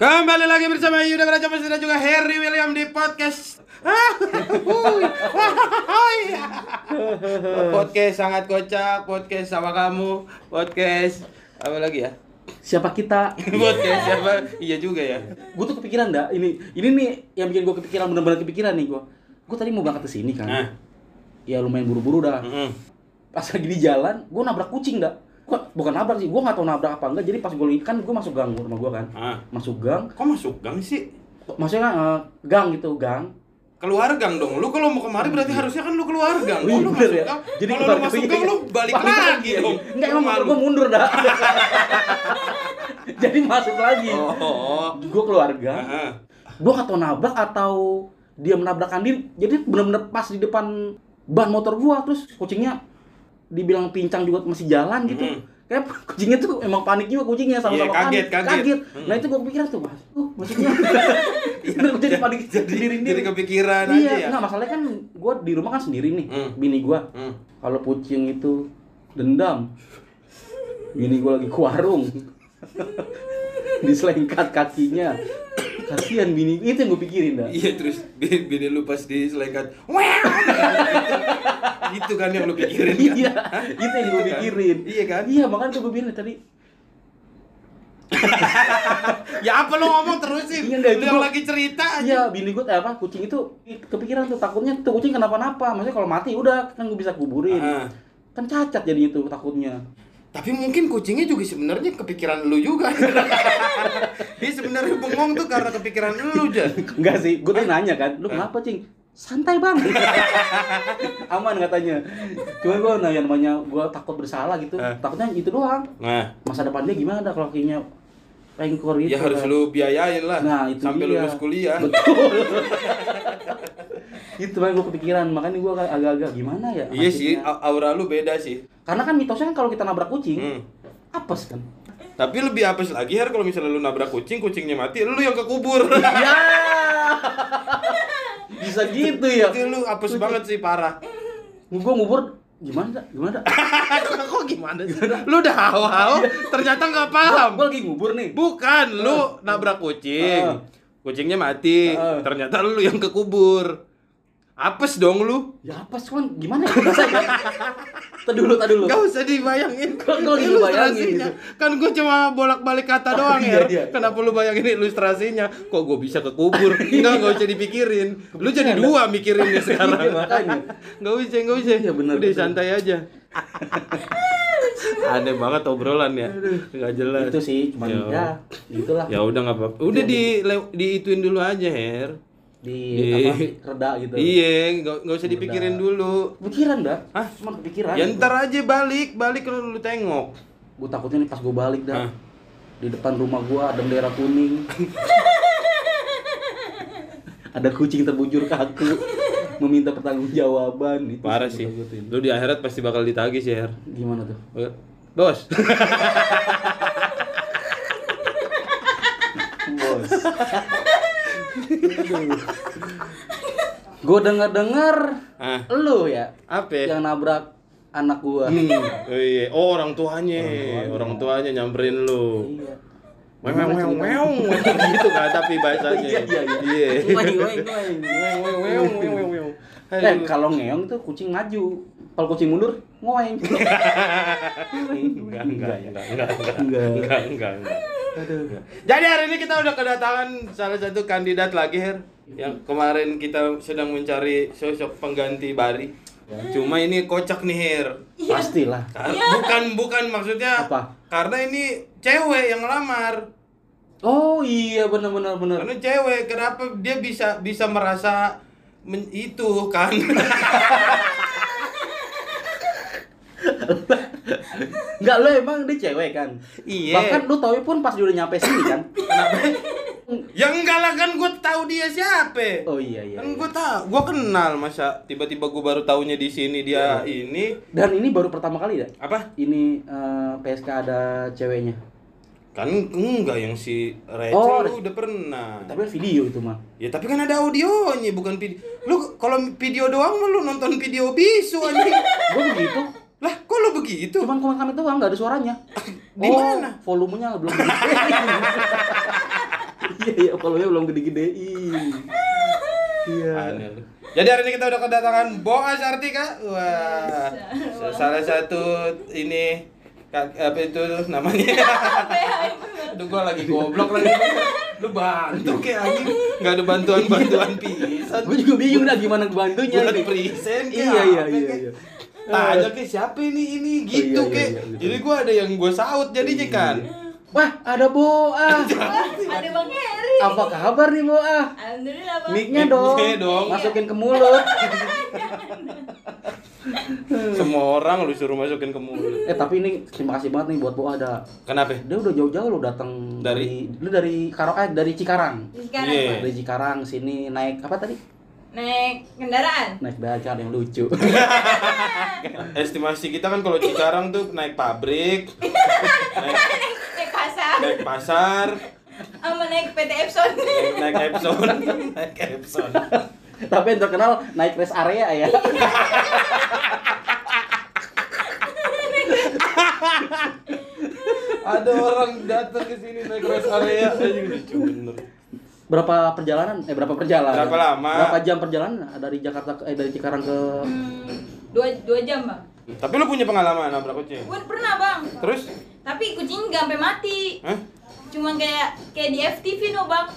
Kembali lagi bersama Yuda Raja Mas dan juga Harry William di podcast Podcast sangat kocak, podcast sama kamu, podcast apa lagi ya? siapa kita Podcast siapa? Iya juga ya. gue tuh kepikiran dah ini ini nih yang bikin gue kepikiran bener-bener kepikiran nih gue gue tadi mau berangkat ke sini kan Nah. ya lumayan buru-buru dah Mm-mm. pas lagi di jalan gue nabrak kucing dah Gua- bukan nabrak sih gue nggak tahu nabrak apa enggak jadi pas gue lihat kan gue masuk gang rumah gue kan Ah. masuk gang Kok masuk gang sih? maksudnya kan eh, gang gitu gang Keluar gang dong. Lu kalau mau kemari berarti harusnya kan lu keluar gang. Kalau Wih, lu bener masuk ya? gang, Jadi kalau lu kemarin- masuk iya, gang iya. lu balik Balik lagi dong. enggak emang Malu. gue mundur dah jadi masuk lagi Oh, oh, oh. gue keluar gang Ah, gue atau nabrak atau dia menabrakkan diri jadi benar-benar pas di depan ban motor gua terus kucingnya dibilang pincang juga masih jalan gitu Mm. kayak kucingnya tuh emang panik juga kucingnya sama-sama Iya, kaget, panik kaget. nah itu gua pikiran tuh mas tuh maksudnya bener jadi panik Iya. Jadi sendiri jadi kepikiran aja iya ya. nggak masalahnya kan gua di rumah kan sendiri nih Mm. bini gua Hmm. kalau kucing itu dendam bini gua lagi ke warung diselengkat kakinya kasihan bini itu yang gue pikirin dah Iya terus bini, bini lu pas diselekat Wow Itu kan yang lu pikirin kan iya itu yang gue Itu kan? pikirin Iya kan? iya makanya gue pikirin tadi Ya apa lu ngomong terusin Iya, nggak, Lu itu yang gua- lagi cerita aja iya bini gue apa kucing itu kepikiran tuh takutnya tuh kucing kenapa-napa maksudnya kalau mati udah kan gue bisa kuburin Ah. kan cacat jadinya tuh takutnya Tapi mungkin kucingnya juga sebenarnya kepikiran lu juga Dia sebenarnya bengong tuh karena kepikiran lu aja enggak sih Eh. gue tadi nanya kan lu kenapa cing santai bang aman katanya cuman gue nanya namanya gue takut bersalah gitu Eh. takutnya itu doang Nah masa depan dia gimana dah kalau kayaknya pengkor gitu Ya harus kan? lu biayain lah Nah, itu Sampai dia. lulus kuliah Betul. itu kan gue kepikiran, makanya gue agak-agak gimana ya. Iya sih nasibnya. a- aura lu beda sih Karena kan mitosnya kan kalau kita nabrak kucing, Hmm. apes kan. Tapi lebih apes lagi Her kalau misalnya lu nabrak kucing, kucingnya mati, lu yang kekubur ya. Bisa gitu ya. Itu lu apes banget sih, parah Gue ngubur gimana? dah? Gimana? dah? Kok gimana sih? Lu udah hawa-hawa, ternyata nggak paham. gue lagi ngubur nih. Bukan, lu nabrak kucing. Ah. Kucingnya mati, Ah. ternyata lu yang kekubur. Apes dong lu. Ya apes cuman gimana ya? Bisa ya? Tuh dulu, tuh dulu. Gak usah dibayangin. Kok- kok gitu bayangin Ilustrasinya. Kan gue cuma bolak-balik kata doang ya. Iya, iya. Kenapa lu bayangin ilustrasinya? Kok gue bisa kekubur? Enggak, gak usah dipikirin. Lu jadi dua mikirinnya Iya, sekarang. makanya. Gak usah, gak usah. Iya, bener, Udah bener. santai aja. Aneh banget obrolan ya. Gak jelas. Itu sih Iya, cuman Yo. ya gitulah. Ya udah nggak apa-apa. Udah di le- diituin dulu aja, Her. Di Di- Iya, apa reda gitu. Iya, nggak nggak usah dipikirin dulu. Pikiran dah. Hah? Cuman kepikiran. Ya gitu. ntar aja balik, balik lu, lu tengok. gue takutnya nih pas gue balik dah Hah? di depan rumah gue ada bendera kuning ada kucing terbujur kaku meminta pertanggungjawaban itu Parah sih. gua takutin. Lu di akhirat pasti bakal ditagih sih, Her. gimana tuh Bos. bos gue denger dengar ah, lu ya apa? ya? yang nabrak anak gue Hmm, oh iya, oh, orang tuanya, orang tuanya nyamperin lu. iya Meong meong meong gitu kan tapi bahasanya. iya Iya. iya iya Weng, weng, weng. Meong meong meong meong meong. Eh, Aduh. kalau ngeong tuh kucing maju. Kalau kucing mundur, ngoeng. Enggak, enggak, enggak, enggak, enggak, Enggak. enggak, enggak, enggak. Aduh. Jadi hari ini kita udah kedatangan salah satu kandidat lagi Her Yang kemarin kita sedang mencari sosok pengganti Bari Cuma ini kocak nih Her Iya. Pastilah. Kar- Bukan, bukan maksudnya Apa? Karena ini cewek yang ngelamar Oh iya benar benar benar. Karena cewek, kenapa dia bisa bisa merasa men- itu kan Enggak lo emang dia cewek kan? Iya. Bahkan lu tahu pun pas dia udah nyampe sini kan. Ya enggak lah kan gue tahu dia siapa Oh iya iya. kan iya. gue tau, gue kenal masa tiba-tiba gue baru taunya di sini Iya. dia ini Dan ini baru pertama kali ya? apa? Ini eh, PSK ada ceweknya. Kan enggak yang si Rachel Oh, udah pernah. Tapi video itu mah. Ya tapi kan ada audionya bukan video. Lu kalau video doang mah lu nonton video bisu anjing. Gue begitu. lah, kok lu begitu? Cuman komen-komen doang, nggak ada suaranya. Di Oh, mana? Volumenya belum gede. Iya, iya, volumenya belum gede-gedein. Iya. Aneh lu. Jadi hari ini kita udah kedatangan Boas Artika. Wah. Bisa. Salah satu ini kak- apa itu namanya? Aduh gua lagi goblok lagi. Lu bantu kayak anjing. Enggak ada bantuan-bantuan pisan. Gue juga bingung dah gimana bantunya buat ini. present kayak Iya, iya, apa iya, kayak. iya. tanya ke siapa ini ini gitu iya, kek iya, iya. jadi gua ada yang gua saut jadinya kan Wah, ada Boa. Ada Bang Heri. Apa kabar nih Boa? Alhamdulillah Bang. Mic-nya Mic-nya dong. dong. Masukin ke mulut. semua orang lu suruh masukin ke mulut eh, tapi ini terima kasih banget nih buat Boa ada. kenapa Dia udah jauh-jauh lo datang Dari? lu dari Karo eh dari Cikarang. Sekarang Iya. Bang. Dari Cikarang sini naik apa tadi? naik kendaraan. Naik becak yang lucu. estimasi kita kan kalau Cikarang tuh naik pabrik Naik pasar naik pasar sama naik PT Epson. naik- naik Epson naik Epson Tapi yang terkenal naik rest area ya. ada orang datang ke sini naik rest area anjing lucu bener Berapa perjalanan? Eh berapa perjalanan? Berapa lama? Berapa jam perjalanan dari Jakarta ke, eh dari Cikarang ke Hmm, dua, dua jam Bang. tapi lu punya pengalaman nabrak kucing Gue pernah Bang. terus Tapi kucing nggak sampai mati. Hah? Cuman kayak kayak di FTV no Bang.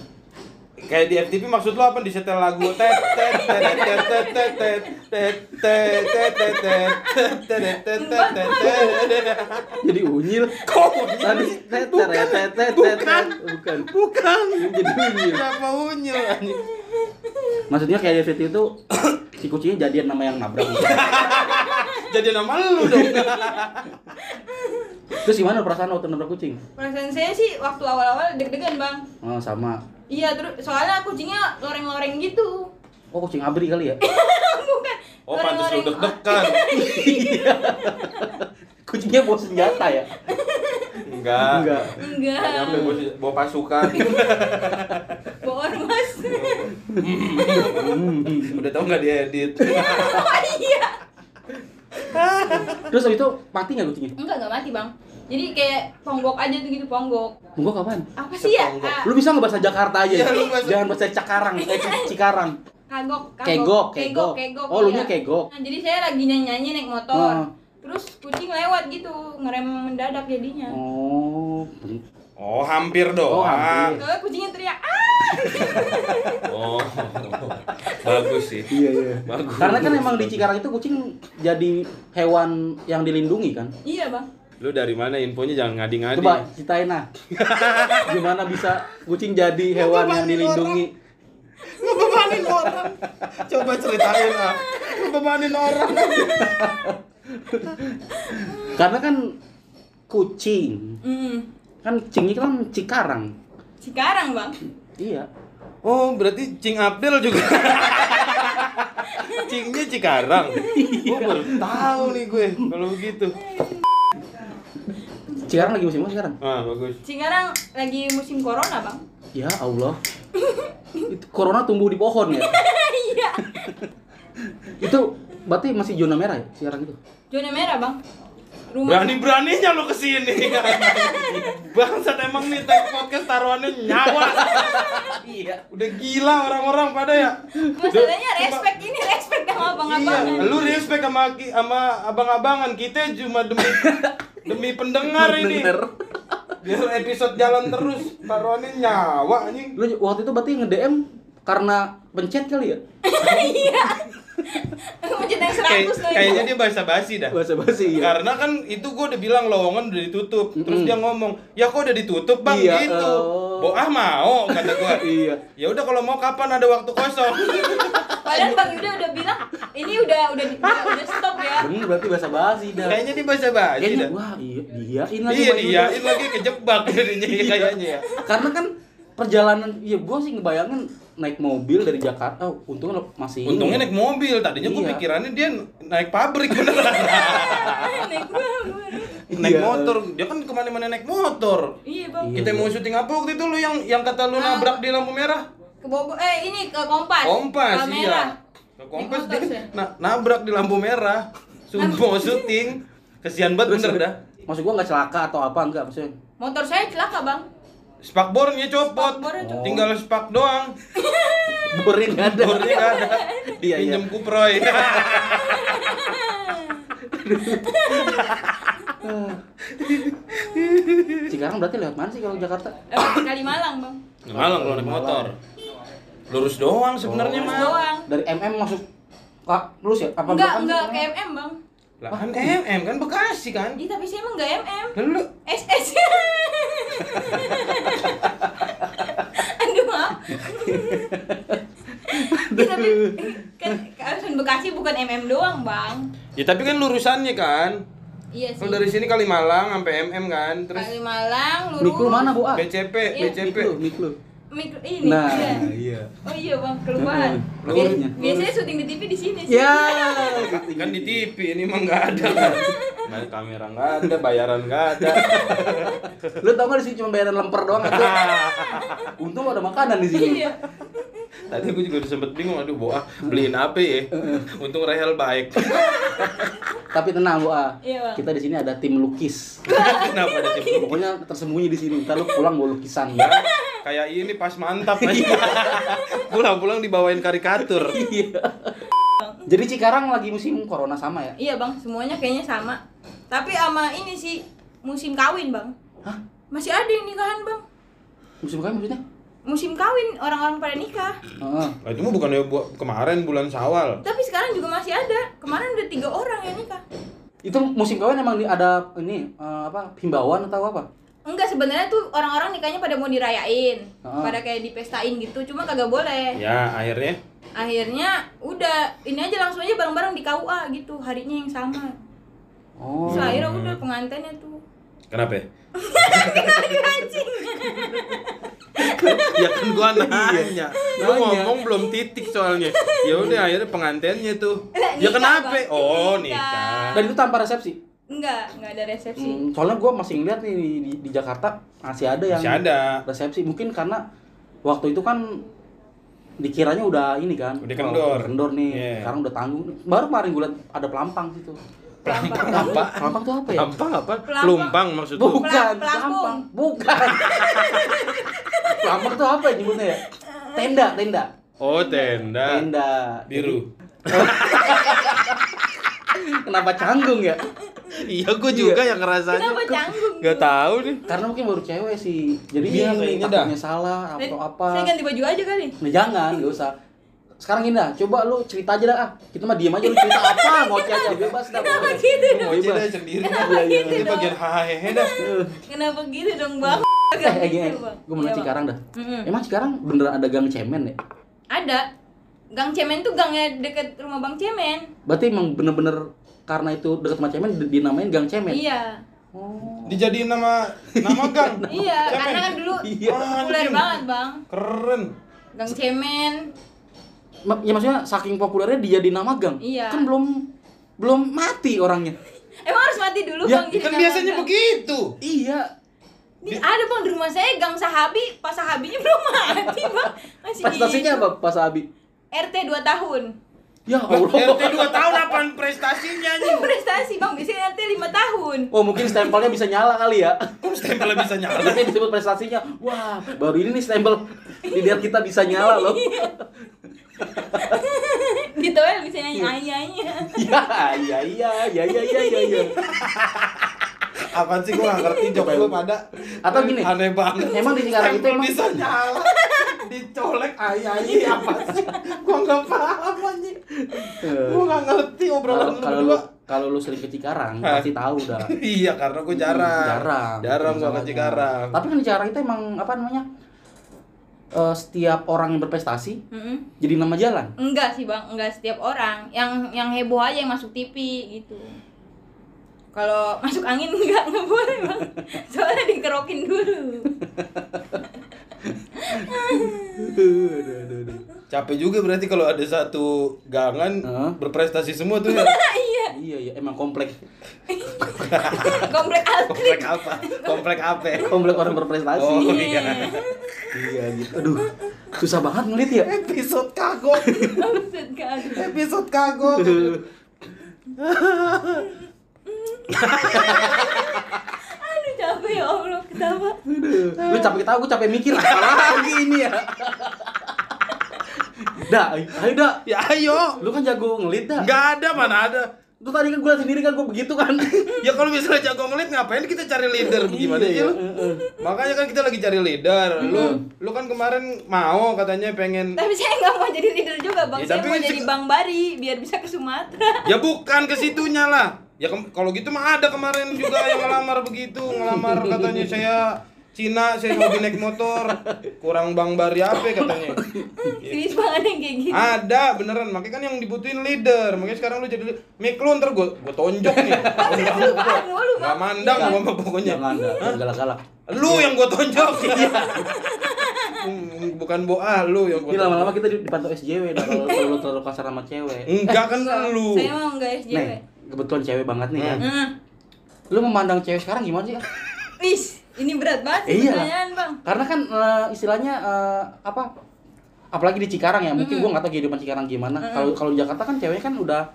Kayak di FTV maksud lo apa di setel lagu tet tet tet tet tet tet tet tet tet tet tet tet tet tet tet tet tet jadi unyil? Kok Tadi tet tet tet tet bukan bukan bukan jadi unyil. Kenapa unyil anjing? Maksudnya kayak David itu si kucingnya jadian nama yang nabrak. Jadi nama lu dong Terus gimana perasaan waktu nabrak kucing? Perasaan saya sih waktu awal-awal deg-degan Bang. Oh, sama. Iya, terus soalnya kucingnya loreng-loreng gitu. Oh, kucing abri kali ya? Bukan. Oh pantas lu loreng-loreng. deg-degan Kucingnya bawa senjata ya? Enggak Enggak. Ah, Enggak. Nyampe gua sih, bawa pasukan Bohor Mas. Udah tau gak diedit oh iya. Terus abis itu mati nggak kucingnya? Enggak, enggak mati, Bang. Jadi kayak ponggok aja tuh gitu, ponggok. Bungo kapan? Apa sih ya? Seponggok. Ah, Lu bisa nggak bahasa Jakarta aja? ya? Iya, lu bahasa- Jangan bahasa Cakarang, eh Cik- Cikarang. Ah, kagok, kagok. Kegok, kegok, kegok. kegok. Oh, lu nya kegok. Nah, jadi saya lagi nyanyi-nyanyi naik motor. Ah. Terus kucing lewat gitu, ngerem mendadak jadinya. Oh, Oh hampir doang Oh, hampir. Soalnya kucingnya teriak, "Ah!" Oh Bagus sih iya iya. Bagus Karena kan emang di Cikarang itu kucing jadi hewan yang dilindungi kan. Iya, Bang. Lu dari mana infonya jangan ngadi-ngadi Coba ceritain nah. Gimana bisa kucing jadi hewan yang dilindungi? ngebebanin orang coba ceritain lah ngebebanin orang Karena kan kucing Hmm. kan cingnya kan Cikarang. Sekarang, Bang. Iya. oh berarti cing Abdel juga cingnya Cikarang Iya. gue baru tahu nih gue kalau begitu Cikarang lagi musim apa sekarang? ah bagus Sekarang lagi musim corona, Bang. Ya Allah. Itu corona tumbuh di pohon ya. Iya. Itu berarti masih zona merah ya sekarang itu. Zona merah, Bang. Rumah. berani beraninya lo kesini bangsat emang nih tag podcast taruhannya nyawa Iya. udah gila orang-orang pada ya Masalahnya Coba- respect ini respect sama abang-abangan. Iya, lu respect sama ki- sama abang-abangan kita cuma demi demi pendengar ini. Bener. Biar episode jalan terus, taruhannya nyawa anjing. Lu waktu itu berarti nge-DM karena pencet kali ya? Aku pencet yang Kayak- 100 lagi. kayaknya dia bahasa basi dah. Bahasa basi ya. Karena kan itu gue udah bilang lowongan udah ditutup. Terus Mm-mm. dia ngomong, "Ya kok udah ditutup, Bang?" Iya, gitu. oh. Oh, ah mau kata gua. Iya. Ya udah kalau mau kapan ada waktu kosong. Padahal Bang Yuda udah bilang ini udah udah udah, udah stop ya. Bener berarti bahasa basi dah. kayaknya dia bahasa basi Kayaknya dah. wah iya diain lagi Iya, Pak Yuda. iya, lagi kejebak jadinya kayaknya ya. Karena kan perjalanan ya gua sih ngebayangin naik mobil dari Jakarta oh, untungnya lo- masih ini. ya. Untungnya naik mobil, tadinya gue Iya. pikirannya dia naik pabrik beneran. Naik gua, gua. naik Iya. motor dia kan kemana-mana naik motor Iya bang. Iya. kita mau syuting apa waktu itu lu yang yang kata lu Ah. nabrak di lampu merah Ke Bogor. Eh ini ke Kompas. kompas Kamera. iya Ke kompas motor, dia Sen. na- nabrak di lampu merah Sumpah mau syuting kesian banget bener dah Maksud gua nggak celaka atau apa enggak maksudnya? Motor saya celaka bang. spakbornya ya, copot Spakbornya copot. tinggal spak doang Bornya nggak ada. bornya nggak ada Iya, iya. pinjem kuproy Cikarang berarti lewat mana sih kalau Jakarta? Eh, kali Malang bang. malang lu naik motor lurus doang sebenarnya Oh. Terus mah doang. Dari MM masuk Kak, lurus ya? Apa belakang sih? Enggak enggak ke MM bang. lah kan MM kan Bekasi kan Iya tapi saya emang enggak MM. lalu lu- SS. Aduh maaf. Iya tapi kan kawasan Bekasi bukan MM doang bang. ya tapi kan lurusannya kan Iya sih. kalau dari sini Kalimalang sampai MM kan terus Kali Malang, lurus. Mik lu mana, Bu? Ah? BCP Iya. BCP Mik lu, mik lu. Mik ini. Nah, iya. iya. Oh iya bang, keluar. Heeh, Bi- lurusnya. Biasanya syuting di TV di sini sih. Ya, kan di TV ini emang nggak ada Nah, kamera nggak ada bayaran nggak ada Lu tau gak di sini cuma bayaran lemper doang atau? Untung ada makanan di sini. Iya. tadi gue juga udah sempet bingung aduh boa beliin apa ya untung Rahel baik Tapi tenang, Bu. Ah. Iya, Bang. Kita di sini ada tim lukis. kenapa ada tim lu? Pokoknya tersembunyi di sini. Ntar lu pulang bawa lukisan. Iya. Ya, kayak ini pas mantap aja pulang-pulang dibawain karikatur Iya. Jadi Cikarang lagi musim corona sama ya? Iya bang, semuanya kayaknya sama. Tapi sama ini sih musim kawin bang. Hah? Masih ada yang nikahan bang. Musim kami maksudnya? Musim kawin orang-orang pada nikah. Heeh. Nah, itu mah bukan ya bu- kemarin bulan Syawal. Tapi sekarang juga masih ada. Kemarin udah tiga orang yang nikah. Itu musim kawin emang di- ada ini eh, apa himbauan atau apa? Enggak sebenarnya tuh orang-orang nikahnya pada mau dirayain, Ah. pada kayak dipestain gitu. Cuma kagak boleh. Ya, akhirnya Akhirnya udah ini aja langsung aja bareng-bareng di KUA gitu harinya yang sama. Oh. Terus akhirnya udah pengantinnya tuh. kenapa? ya? Anjing. ya kan gua nanya. Lu Nanya. ngomong belum titik soalnya. Ya udah akhirnya pengantinnya tuh. Lah, Ya nikah, kenapa? Bang. Oh, Nikah. nikah. Dan itu tanpa resepsi. Enggak, enggak ada resepsi. Hmm, soalnya gue masih ngeliat nih di, di- di Jakarta masih ada yang Masih ada. resepsi mungkin karena waktu itu kan dikiranya udah ini kan Udah kendor. Oh, kendor nih Iya. sekarang udah tanggung baru kemarin gue liat ada pelampang gitu Pelampang Pelampang. apa? pelampang tuh apa ya Pelampang apa? Pelampang. Lumpang maksud lu? bukan Pelam- pelampang pelampung. bukan pelampang tuh apa ya nyebutnya ya tenda tenda Oh, tenda. tenda Biru. kenapa canggung ya Iya, gua juga yang ngerasanya. Kenapa canggung? Gak tahu nih. karena mungkin baru cewek sih jadi Iya, ini kayaknya takutnya salah Saya- atau apa Saya ganti baju aja kali. Nah, jangan, gak usah. Sekarang gini dah, coba lu cerita aja dah. Ah, kita mah diam aja lu cerita apa, ngoceh aja bebas dah. Kenapa pokoknya. gitu Mau Bebas. aja dah sendiri. Kenapa Iya, gitu Ini dong? bagian hahehe dah. Kenapa gitu dong, Bang? Eh, Gak eh, gini, gitu, Bang. gue mau Iya, nanya Bang. Cikarang dah. Mm-mm. Emang Cikarang bener ada gang cemen ya? Ada. Gang Cemen tuh gangnya deket rumah Bang Cemen. Berarti emang bener-bener karena itu dekat sama cemen di- dinamain gang cemen. Iya. Oh. Dijadiin nama nama gang. Iya, Cemen. karena kan dulu Iya. populer Anjing. banget, Bang. Keren. Gang Cemen. Ma- Ya maksudnya saking populernya dia dinama gang. Iya. Kan belum belum mati orangnya. Emang harus mati dulu, Ya, Bang. jadi Kan nama biasanya gang. begitu. Iya. Ini ada, Bang, di rumah saya gang Sahabi, pas Sahabinya belum mati, Bang. Masih Prestasinya di apa Pak Sabi? RT 2 tahun. Ya RT Allah. 2 tahun apaan prestasinya anjing? Prestasi, Bang. Biasanya RT 5 tahun. Oh mungkin stempelnya bisa nyala kali ya. Kok stempelnya bisa nyala? Tapi disebut prestasinya, wah baru ini nih stempel lidah kita bisa nyala loh. gitu ya bisa nyanyi Iya. ayahnya Ya, ya, ya, ya, ya, ya, ya, ya. Apaan sih gua gak ngerti jawab lu pada Atau gini. Aneh banget Emang di Cikarang itu Stempel emang- bisa nyala Dicolek ayai apa sih Gua gak paham anjing Gua gak ngerti Kalau obrolan lu kalau lu berdua kalau lu sering ke Cikarang Hah? pasti tahu dah. Iya karena gua jarang Jarang. Jarang gua ke masalahnya. Cikarang Tapi kan di Cikarang itu emang apa namanya? eh, setiap orang yang berprestasi jadi nama jalan. enggak sih bang enggak setiap orang yang yang heboh aja yang masuk TV gitu kalau masuk angin enggak enggak boleh bang soalnya dikerokin dulu aduh, aduh, aduh. Capek juga berarti kalau ada satu gangan Heeh. berprestasi semua tuh ya iya Iya iya emang komplek. komplek Komplek atlet apa? Komplek apa? Komplek orang berprestasi. Oh iya. Iya gitu. Aduh, susah banget ngelit ya. Episode kagok. maksud kan Episode kagok. aduh capek ya allah ketawa Lu capek ketawa, gue capek mikir apa lagi ini ya. Dah, ayo dah. Ya ayo. Lu kan jago ngelit dah. Nggak ada mana ada. Lu tadi kan gue sendiri kan gue begitu kan. Ya kalau misalnya jago ngelit ngapain kita cari leader gimana ya? sih Iya, lu? heeh. Makanya kan kita lagi cari leader. Lu lu kan kemarin mau katanya pengen tapi saya nggak mau jadi leader juga bang Ya, saya tapi mau kan jadi se- bang bari biar bisa ke Sumatera Ya bukan ke situnya lah. Ya kem- kalau gitu mah ada kemarin juga yang ngelamar begitu, ngelamar katanya saya Cina, saya hobi naik motor, kurang Bang Bari apa katanya. Iya. serius banget yang kayak gitu? gini Ada beneran, makanya kan yang dibutuhin leader. Makanya sekarang lu jadi mik lu ntar gua gua tonjok nih. Apaan lu, Bang? Gak mandang Iya. gua mah pokoknya. Jangan dah, jangan galak-galak. Lu yang gua tonjok. Iya. Hmm, Bukan boa lu yang gua. Ini tonjok. lama-lama kita di- dipantau SJW dah kalau kalau lu terlalu kasar sama cewek. Enggak kan lu. saya mau nggak SJW Nih, kebetulan cewek banget nih kan. Iya. Hmm. Lu memandang cewek sekarang gimana sih? Is, ini berat banget sih Iya. pertanyaan bang. Karena kan eh, istilahnya eh, apa? Apalagi di Cikarang ya, mungkin gua nggak tahu kehidupan Cikarang gimana. Kalau kalau di Jakarta kan cewek kan udah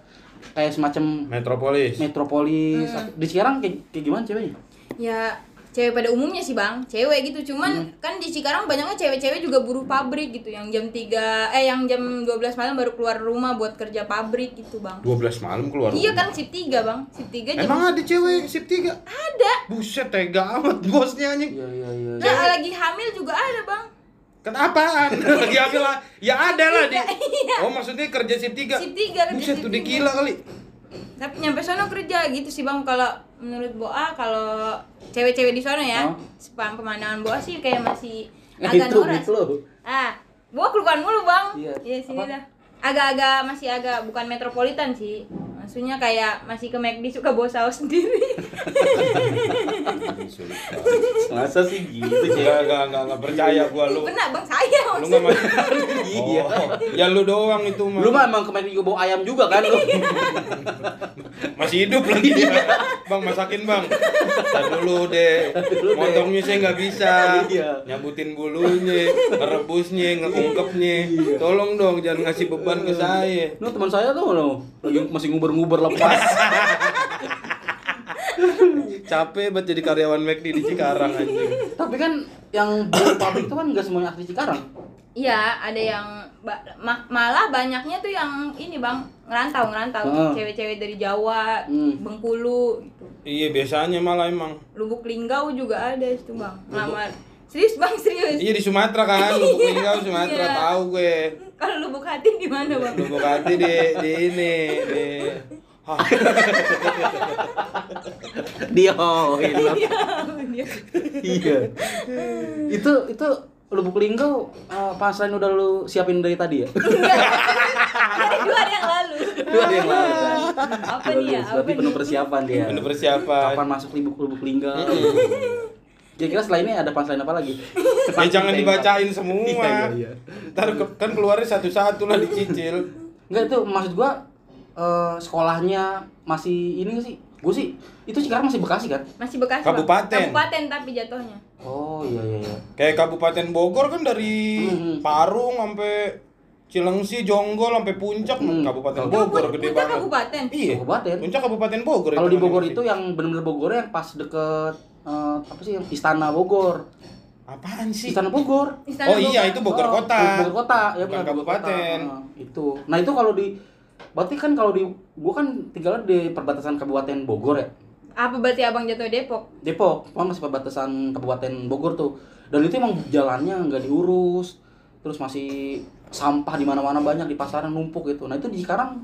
kayak semacam Metropolis. metropolis. Hmm. Di Cikarang kayak, kayak gimana ceweknya? Ya, cewek pada umumnya sih bang, cewek gitu. Cuman kan di Cikarang banyaknya cewek-cewek juga buruh pabrik gitu, yang jam 3 eh yang jam 12 malam baru keluar rumah buat kerja pabrik gitu bang. 12 malam keluar. Iya rumah. kan sip 3 bang, sip 3 jam. Emang ada cewek sip 3? Ada. Buset tega amat bosnya anjing. Iya iya iya. Nah, lagi hamil juga ada bang. Kenapaan? Lagi ambil lah. Ya ada Iya lah di. Oh maksudnya kerja sip 3. Sip tiga, kerja Buset sip udah tiga. gila kali. Tapi nyampe sono kerja gitu sih bang. Kalau menurut Boa, kalau cewek-cewek di sono ya, Oh. sepaham pemandangan Boa sih kayak masih Nah, agak itu norak. gitu loh. Ah, gua keluhan mulu bang. Iya. Iya sini Apa? dah. Agak-agak masih agak bukan metropolitan sih. Maksudnya kayak masih ke McD suka bawa saus sendiri. Masa sih gitu Iya, Enggak enggak enggak enggak percaya gua lu. Benar bang saya. Lu maksudnya. enggak Iya. Ya lu doang itu mah. Lu mah emang kemarin juga bawa ayam juga kan lu. masih hidup lagi dia. Bang masakin bang. Ntar dulu deh. dulu deh. Motongnya saya nggak bisa. Iya. Nyambutin bulunya, rebusnya, ngeungkepnya. Iya. Tolong dong jangan ngasih beban ke saya. Lu teman saya tuh lo lagi masih nguber-nguber lepas. Capek banget jadi karyawan McD di Cikarang anjing. Tapi kan yang buruh pabrik itu kan nggak semuanya asli Cikarang. Iya, ada yang ba- ma- malah banyaknya tuh yang ini bang ngerantau ngerantau Heeh. cewek-cewek dari Ah. Jawa, Hmm. Bengkulu, gitu. Iya biasanya malah emang. Lubuk Linggau juga ada itu bang. Lamar serius bang serius. Iya di Sumatera kan, Lubuk Linggau Sumatera Iya. tahu gue. Kalau lubuk hati di mana bang? Lubuk hati di di ini di Hah, Dia oh Iya. iya itu itu lubuk linggau eh, pas lain udah lu siapin dari tadi ya Ah. Dari dua hari yang lalu. Dua hari Iya, yang lalu, kan? Apa nih Bagus, ya? Apa berarti penuh nih? persiapan dia Penuh persiapan. kapan masuk lubuk lubuk linggau Hmm. kira-kira setelah ini ada punchline apa lagi Ya jangan dibacain Iya, semua. iya, iya. Ntar ke- kan keluarnya satu-satu lah dicicil. Enggak itu maksud gua eh, sekolahnya masih ini nggak sih gua sih itu sekarang masih bekasi kan Masih Bekasi. Bang. Kabupaten. Kabupaten tapi jatuhnya. oh iya iya iya Kayak Kabupaten Bogor kan dari Mhm. Parung sampai Cilengsi, Jonggol sampai Puncak Mhm. Kabupaten Kalau Bogor Puncak gede banget. Kabupaten. Iya. Kabupaten. Puncak Kabupaten Bogor. kalau di Bogor namanya. itu ya. yang bener-bener Bogor yang pas deket eh, apa sih yang istana Bogor apaan sih? istana Bogor Istana oh iya Bogor. itu Bogor Oh, Kota. Bogor Kota, ya Bukan bukan Bogor Kota. kabupaten. Ah, itu. Nah, itu kalau di berarti kan kalau di gua kan tinggal di perbatasan Kabupaten Bogor ya. Apa berarti Abang jatuh Depok? Depok, cuma masih perbatasan Kabupaten Bogor tuh. Dan itu emang jalannya nggak diurus. Terus masih sampah di mana-mana banyak di pasaran numpuk gitu. Nah, itu di sekarang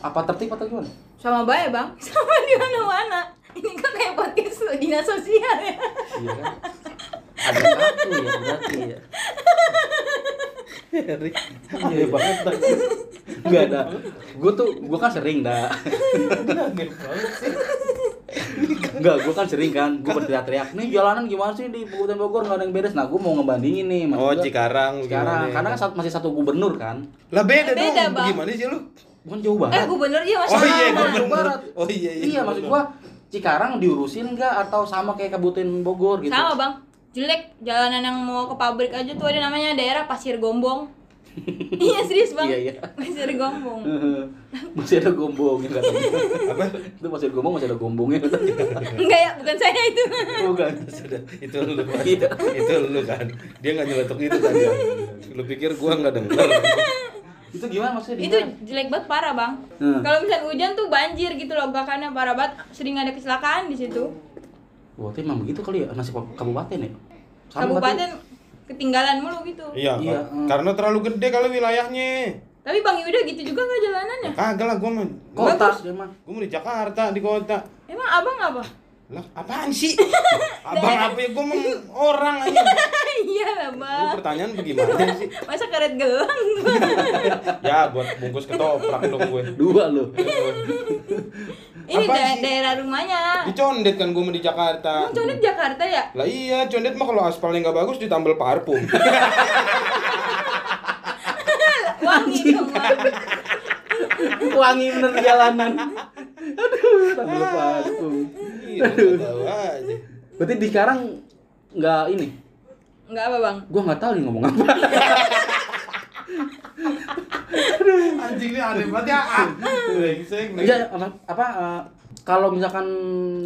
apa tertib atau gimana? Sama bae, Bang. Sama di mana-mana. Ini kan kayak podcast lo, dinas sosial ya. Iya kan? Ada satu ya berarti ya. Iya banget Enggak ada. Gue tuh gue kan sering dah. Enggak, gue kan sering kan, gue berteriak-teriak nih jalanan gimana sih di Kabupaten Bogor nggak ada yang beres. Nah, gue mau ngebandingin nih. maksud Oh, gua Cikarang Sekarang, gimana? karena kan sat- masih satu gubernur kan. Lah beda, Beda, dong. Bang. Gimana sih lu? bukan Jawa Barat. Eh, gubernur dia masih Oh iya, Jawa bener. Barat. Oh iya, iya, Iya, maksud bener. gua Cikarang diurusin nggak atau sama kayak Kabupaten Bogor gitu? Sama bang, jelek jalanan yang mau ke pabrik aja tuh ada namanya daerah Pasir Gombong. iya serius bang. Iya, iya. Pasir Gombong. masih ada gombongnya katanya. Apa? itu masih ada gombong, masih ada gombongnya katanya. Iya. Enggak ya, bukan saya itu. Bukan. Sudah, itu lu kan. Iya. itu lu kan. Dia nggak nyeletuk itu kan ya. Lu pikir gua nggak dengar? Itu gimana maksudnya? itu gimana? jelek banget parah bang. Hmm. Kalau misalnya hujan tuh banjir gitu logakannya parah banget. Sering ada kecelakaan di situ. Wah, itu emang begitu kali ya nasib kabupaten ya? Sama katanya. Kabupaten ketinggalan mulu gitu. Iya, Iya, kar- eh. karena terlalu gede kali wilayahnya. Tapi bang Yuda gitu juga nggak jalanannya? Ya Kagak lah gua mah. kota Bagus. dia mah. Gua mau di Jakarta, di kota. Emang abang apa? Lah, apaan sih? Abang apa ya? Gua mah orang aja. Iya lah Lu bang. pertanyaan bagaimana sih? Masa karet gelang? Ya, buat bungkus ketoprak dong gue. Dua loh. Ini Apaan da- sih? daerah rumahnya. Dicondet kan gue mau di Jakarta. Bang Condet Jakarta ya? Lah iya, condet mah kalau aspalnya nggak bagus ditambal parfum. Wangi semua. Wangi bener di jalanan. Aduh, tak perlu parfum. Iya, nggak tahu aja. Berarti di sekarang nggak ini. Enggak apa bang? Gua nggak tahu nih ngomong apa. Anjing ini aneh banget ya. ah. Brengsek nih. Iya, apa, apa eh, kalau misalkan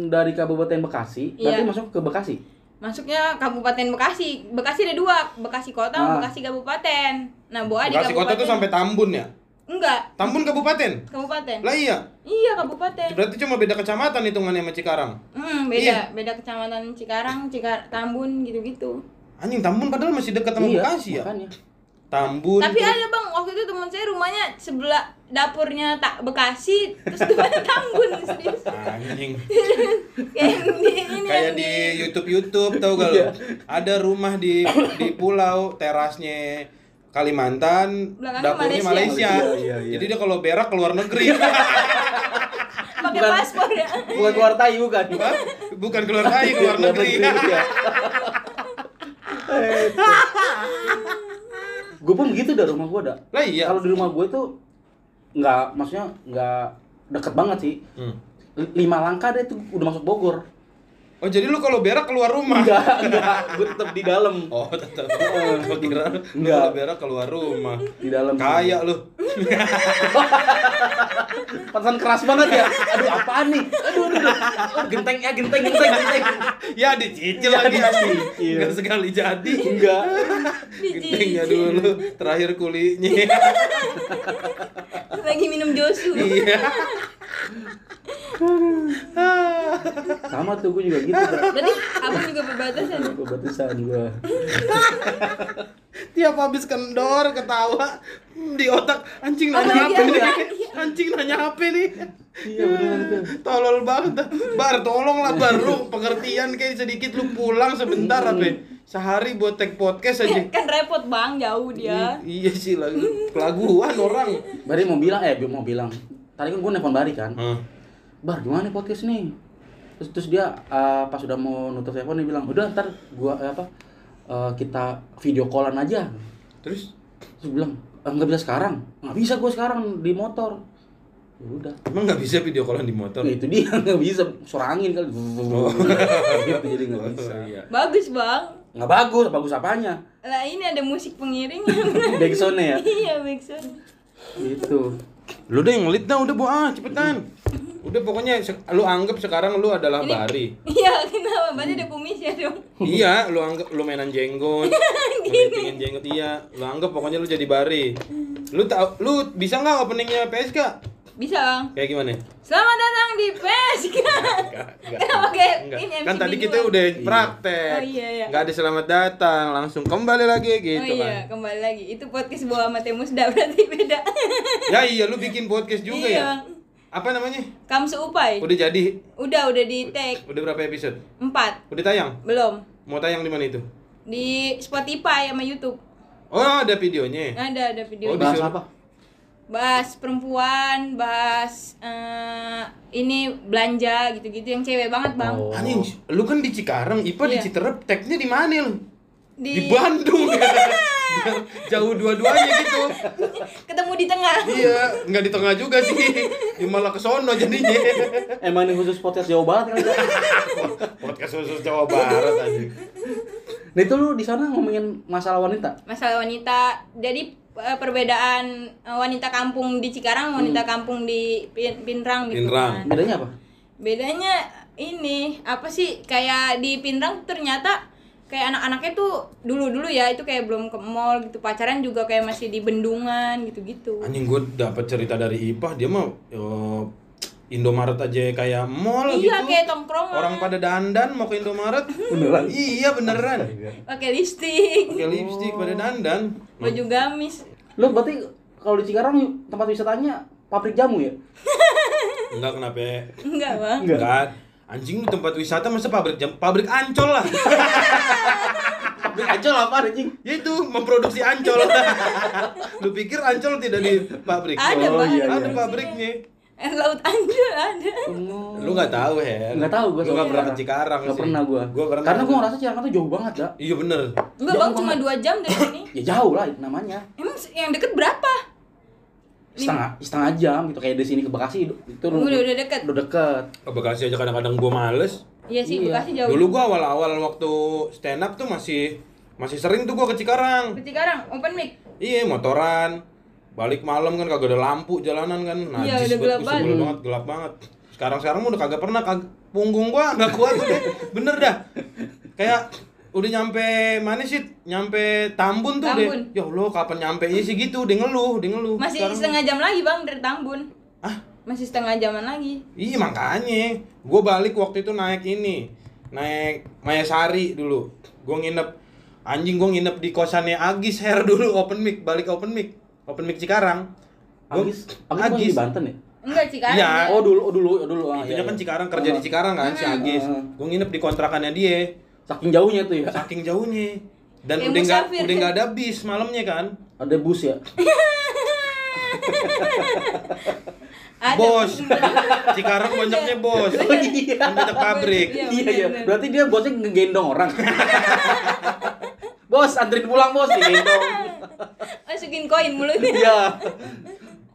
dari Kabupaten Bekasi, berarti Iya. masuk ke Bekasi. Masuknya Kabupaten Bekasi. Bekasi ada dua, Bekasi Kota, Ah. sama Bekasi Kabupaten. Nah, Boa di Bekasi kota Kabupaten. tuh sampai Tambun ya? Enggak, Tambun kabupaten? Kabupaten. Lah iya. Iya, Kabupaten. Berarti cuma beda kecamatan hitungannya sama Cikarang. Iya. Hmm, beda, beda kecamatan Cikarang, Cikar Tambun gitu-gitu. Anjing Tambun padahal masih dekat Iya, sama Bekasi ya. Iya, makanya. Tambun. Tapi ada bang, waktu itu teman saya rumahnya sebelah dapurnya tak Bekasi, terus depannya Tambun serius. Anjing. Kayak di ini. Kayak di YouTube YouTube tau gak lo? Iya. Ada rumah di di pulau terasnya Kalimantan, Belakangnya dapurnya Malaysia. Malaysia. Malaysia, iya, iya. Jadi dia kalau berak keluar negeri. Pakai Bukan. paspor ya. Bukan keluar tai bukan. Hah? Bukan keluar negeri, keluar negeri. iya. gue pun gitu dari rumah gue dah. Lah iya. Kalau di rumah gue tuh nggak, maksudnya nggak deket banget sih. Hmm. Li- Lima langkah deh tuh udah masuk Bogor. Oh jadi lu kalau berak keluar rumah? Enggak, enggak. Gue tetap di dalam. Oh tetap. Gua kira lu Enggak. kalau berak keluar rumah. Di dalam. Kaya lu. Pantesan keras banget ya. Aduh apaan nih? Aduh, aduh, aduh. Aduh, Genteng ya, genteng, genteng, genteng. Ya dicicil Ya, lagi anjing. dicicil. Enggak sekali jadi. Enggak. Gentengnya dulu, terakhir kulinya. Lagi minum Josu. Iya. Sama tuh gue juga gitu. Dah. Berarti abang juga ya? berbatasan. Kebatasan gue. Tiap habis kendor ketawa hmm, di otak anjing Apalagi nanya apa nih? ada. Anjing nanya apa nih? Iya beneran tuh. Tolol banget. Bar tolonglah Bar lu pengertian kayak sedikit lu pulang sebentar apa? Sehari buat take podcast aja. Kan repot bang, jauh dia. Iya sih lagu kelaguan orang. Bari mau bilang, eh mau bilang. Tadi kan gue nelfon Bari kan. Bar gimana nih podcast nih? Terus, terus dia eh, pas udah mau nutup telepon dia bilang, udah ntar gue apa eh, kita video callan aja. Terus Terus gua bilang, "Eh, nggak bisa sekarang. Nggak bisa gue sekarang di motor. Ya udah. emang nggak bisa video callan di motor? Ya, itu dia nggak bisa suara angin kali. gitu jadi nggak bisa. iya. Bagus bang. Nggak bagus, bagus apanya? Lah ini ada musik pengiringnya. Backsoundnya ya. iya, Backsound. Gitu. Lu deh yang lead dah udah bawa ah, cepetan. Udah pokoknya se- lu anggap sekarang lu adalah Bari. Iya, kenapa? Berarti ada kumis ya dong. iya, lu anggap lu mainan jenggot. lu mainan jenggot iya. Lu anggap pokoknya lu jadi Bari. Lu tau lu bisa nggak openingnya PSK? Bisa, Bang. Kayak gimana? Selamat datang di PSK. Kenapa kayak Enggak. ini MC Kan tadi kita Biduan? udah praktek. Oh, iya, iya. Nggak ada selamat datang, langsung kembali lagi Oh gitu iya, kan. kembali lagi. Itu podcast bawa sama Temusda berarti beda. Ya iya, lu bikin podcast juga Iya, ya. Bang. Apa namanya? Kamsu Upai. Udah jadi? Udah, udah di tag Udah berapa episode? 4. Udah tayang? Belum. Mau tayang di mana itu? Di Spotify sama YouTube. Oh, ada videonya. Ada ada Oh, video. di- Bahas disuruh- apa? bahas perempuan, bahas eh, ini belanja gitu-gitu yang cewek banget, Bang. Oh. Anjing, lu kan di Cikarang, Ipa di Iya. Citerep, tagnya di mana lu? Di, Di Iya. Bandung. jauh dua-duanya gitu ketemu di tengah iya nggak di tengah juga sih Ya, malah ke sono jadinya Emang ini khusus podcast Jawa Barat kali ya? podcast khusus Jawa Barat aja Nah itu lu di sana ngomongin masalah wanita. masalah wanita jadi eh, perbedaan eh, wanita kampung di Cikarang wanita kampung di Pin- Pinrang gitu Pinrang. kan. Bedanya apa? bedanya ini apa sih kayak di Pinrang ternyata kayak anak-anaknya tuh dulu-dulu ya itu kayak belum ke mall gitu pacaran juga kayak masih di bendungan gitu-gitu anjing gue dapat cerita dari Ipah dia mah eh, Indomaret aja kayak mall gitu iya kayak tongkrongan orang pada dandan mau ke Indomaret Beneran? iya beneran pakai lipstik pakai lipstick pada dandan baju gamis Lu berarti kalau di Cikarang tempat wisatanya pabrik jamu ya? enggak kenapa ya? enggak bang enggak anjing di tempat wisata masa pabrik jam pabrik ancol lah Pabrik ancol apa anjing? itu memproduksi ancol lu pikir ancol tidak di pabrik ada Oh, bang iya, ada iya. pabriknya Eh, laut anjir ada lu nggak tahu Her Enggak Oh. tahu gua lu nggak soalnya. pernah ke Cikarang Nggak sih. pernah gua. gua pernah Karena gua ngerasa Cikarang tuh jauh banget, ya. iya bener enggak Jauh bang cuma banget. dua jam dari sini Ya jauh lah itu namanya. emang yang deket berapa Setengah setengah jam gitu kayak dari sini ke Bekasi itu Oh, udah udah deket udah deket. ke Bekasi aja kadang-kadang gua males iya sih Iya. bekasi jauh Dulu gua awal-awal waktu stand up tuh masih masih sering tuh gua ke Cikarang. ke Cikarang open mic Iya, motoran. Balik malam kan kagak ada lampu jalanan kan. Iya, najis udah banget, gelap gua sebel banget. banget, gelap banget. Sekarang sekarang udah kagak pernah kag- punggung gua nggak kuat udah. Bener dah. Kayak udah nyampe mana sih? Nyampe Tambun tuh Tambun. deh. Ya Allah, kapan nyampe sih gitu? Dia ngeluh, dia ngeluh. masih Sekarang- setengah jam lagi bang dari Tambun Ah, masih setengah jaman lagi Iya makanya, gue balik waktu itu naik ini, naik Mayasari dulu. Gue nginep, anjing gue nginep di kosannya Agis Hair dulu open mic, balik open mic, open mic Cikarang. Gua- Agis, Agis, bukan di Banten ya? enggak Cikarang Iya. dia. Oh dulu, oh dulu, oh dulu. Ah, Itunya iya, kan iya. Cikarang kerja di Ah, Cikarang kan si Agis. Hmm. Gue nginep di kontrakannya dia, Saking jauhnya tuh ya. saking jauhnya. Dan Kayak udah nggak musafir. udah nggak ada bis malamnya kan. Ada bus ya. Ada. Bos, Cikarang banyaknya bos. Oh iya. Kan banyak pabrik. Iya, Iya iya. bener. Berarti dia bosnya ngegendong orang. bos, anterin pulang bos digendong. masukin koin mulutnya Iya.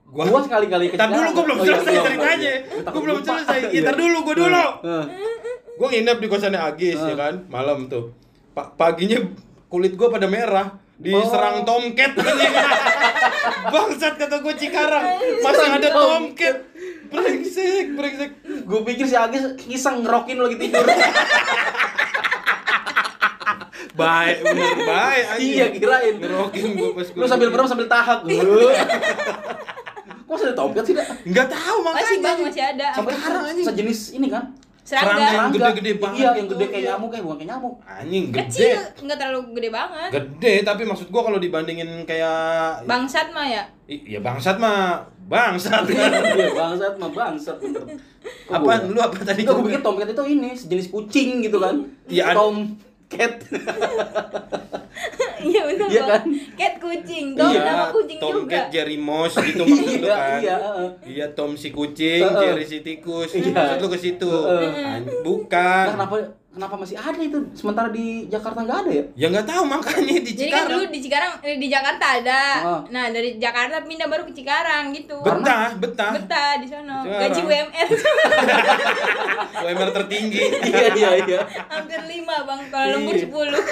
Gua- Gua, sekali-kali ke Ntar dulu Cikarang. gua belum Oh, iya, selesai belum. ceritanya. Iya, Gua belum lupa. selesai. Iya, Iya. eh. Ah. ntar dulu, gua dulu. Heeh. gue nginep di kosannya Agis ya kan malam tuh Pa- paginya kulit gue pada merah Oh. diserang tomcat bangsat kata gue cikarang masih ada tomcat brengsek brengsek Gua pikir si Agis iseng ngerokin lu lagi tidur. baik bener baik anjing. iya, kirain. ngerokin gue pas gue Lu sambil merem sambil tahak. Iya. Lu. Kok ada topet sih, Dak? nggak tahu makanya masih bang masih ada Sampai Sekarang ini. sejenis ini kan? Serangga. serangga Yang gede-gede banget Iya, yang gitu, gede kayak iya. nyamuk kayak bukan kayak nyamuk. anjing gede kecil nggak terlalu gede banget gede tapi maksud gue kalau dibandingin kayak bangsat mah ya I- ya bangsat mah bangsat Iya, bangsat mah bangsat. bener. Kok apa gua- lu apa tadi Enggak, gue pikir tomcat itu ini sejenis kucing gitu kan. Iya, ada- Tomcat. iya benar Iya kan? bang cat kucing dong Iya, nama kucing Tomcat juga Jerry Moss gitu maksud lu Iya, kan. iya, heeh. Iya, Tom si kucing, Heeh. Jerry si tikus. Iya. Maksud lu ke situ. Heeh. An- Nah, Bukan. kenapa kenapa masih ada itu sementara di Jakarta nggak ada ya? Ya nggak tahu makanya di jadi kan dulu Cikarang. di Cikarang eh, di Jakarta ada Ah. nah dari Jakarta pindah baru ke Cikarang gitu Betah, betah. betah di sana Di Cikarang. gaji UMR UMR tertinggi. iya iya iya. hampir lima bang kalau lembur Iya. sepuluh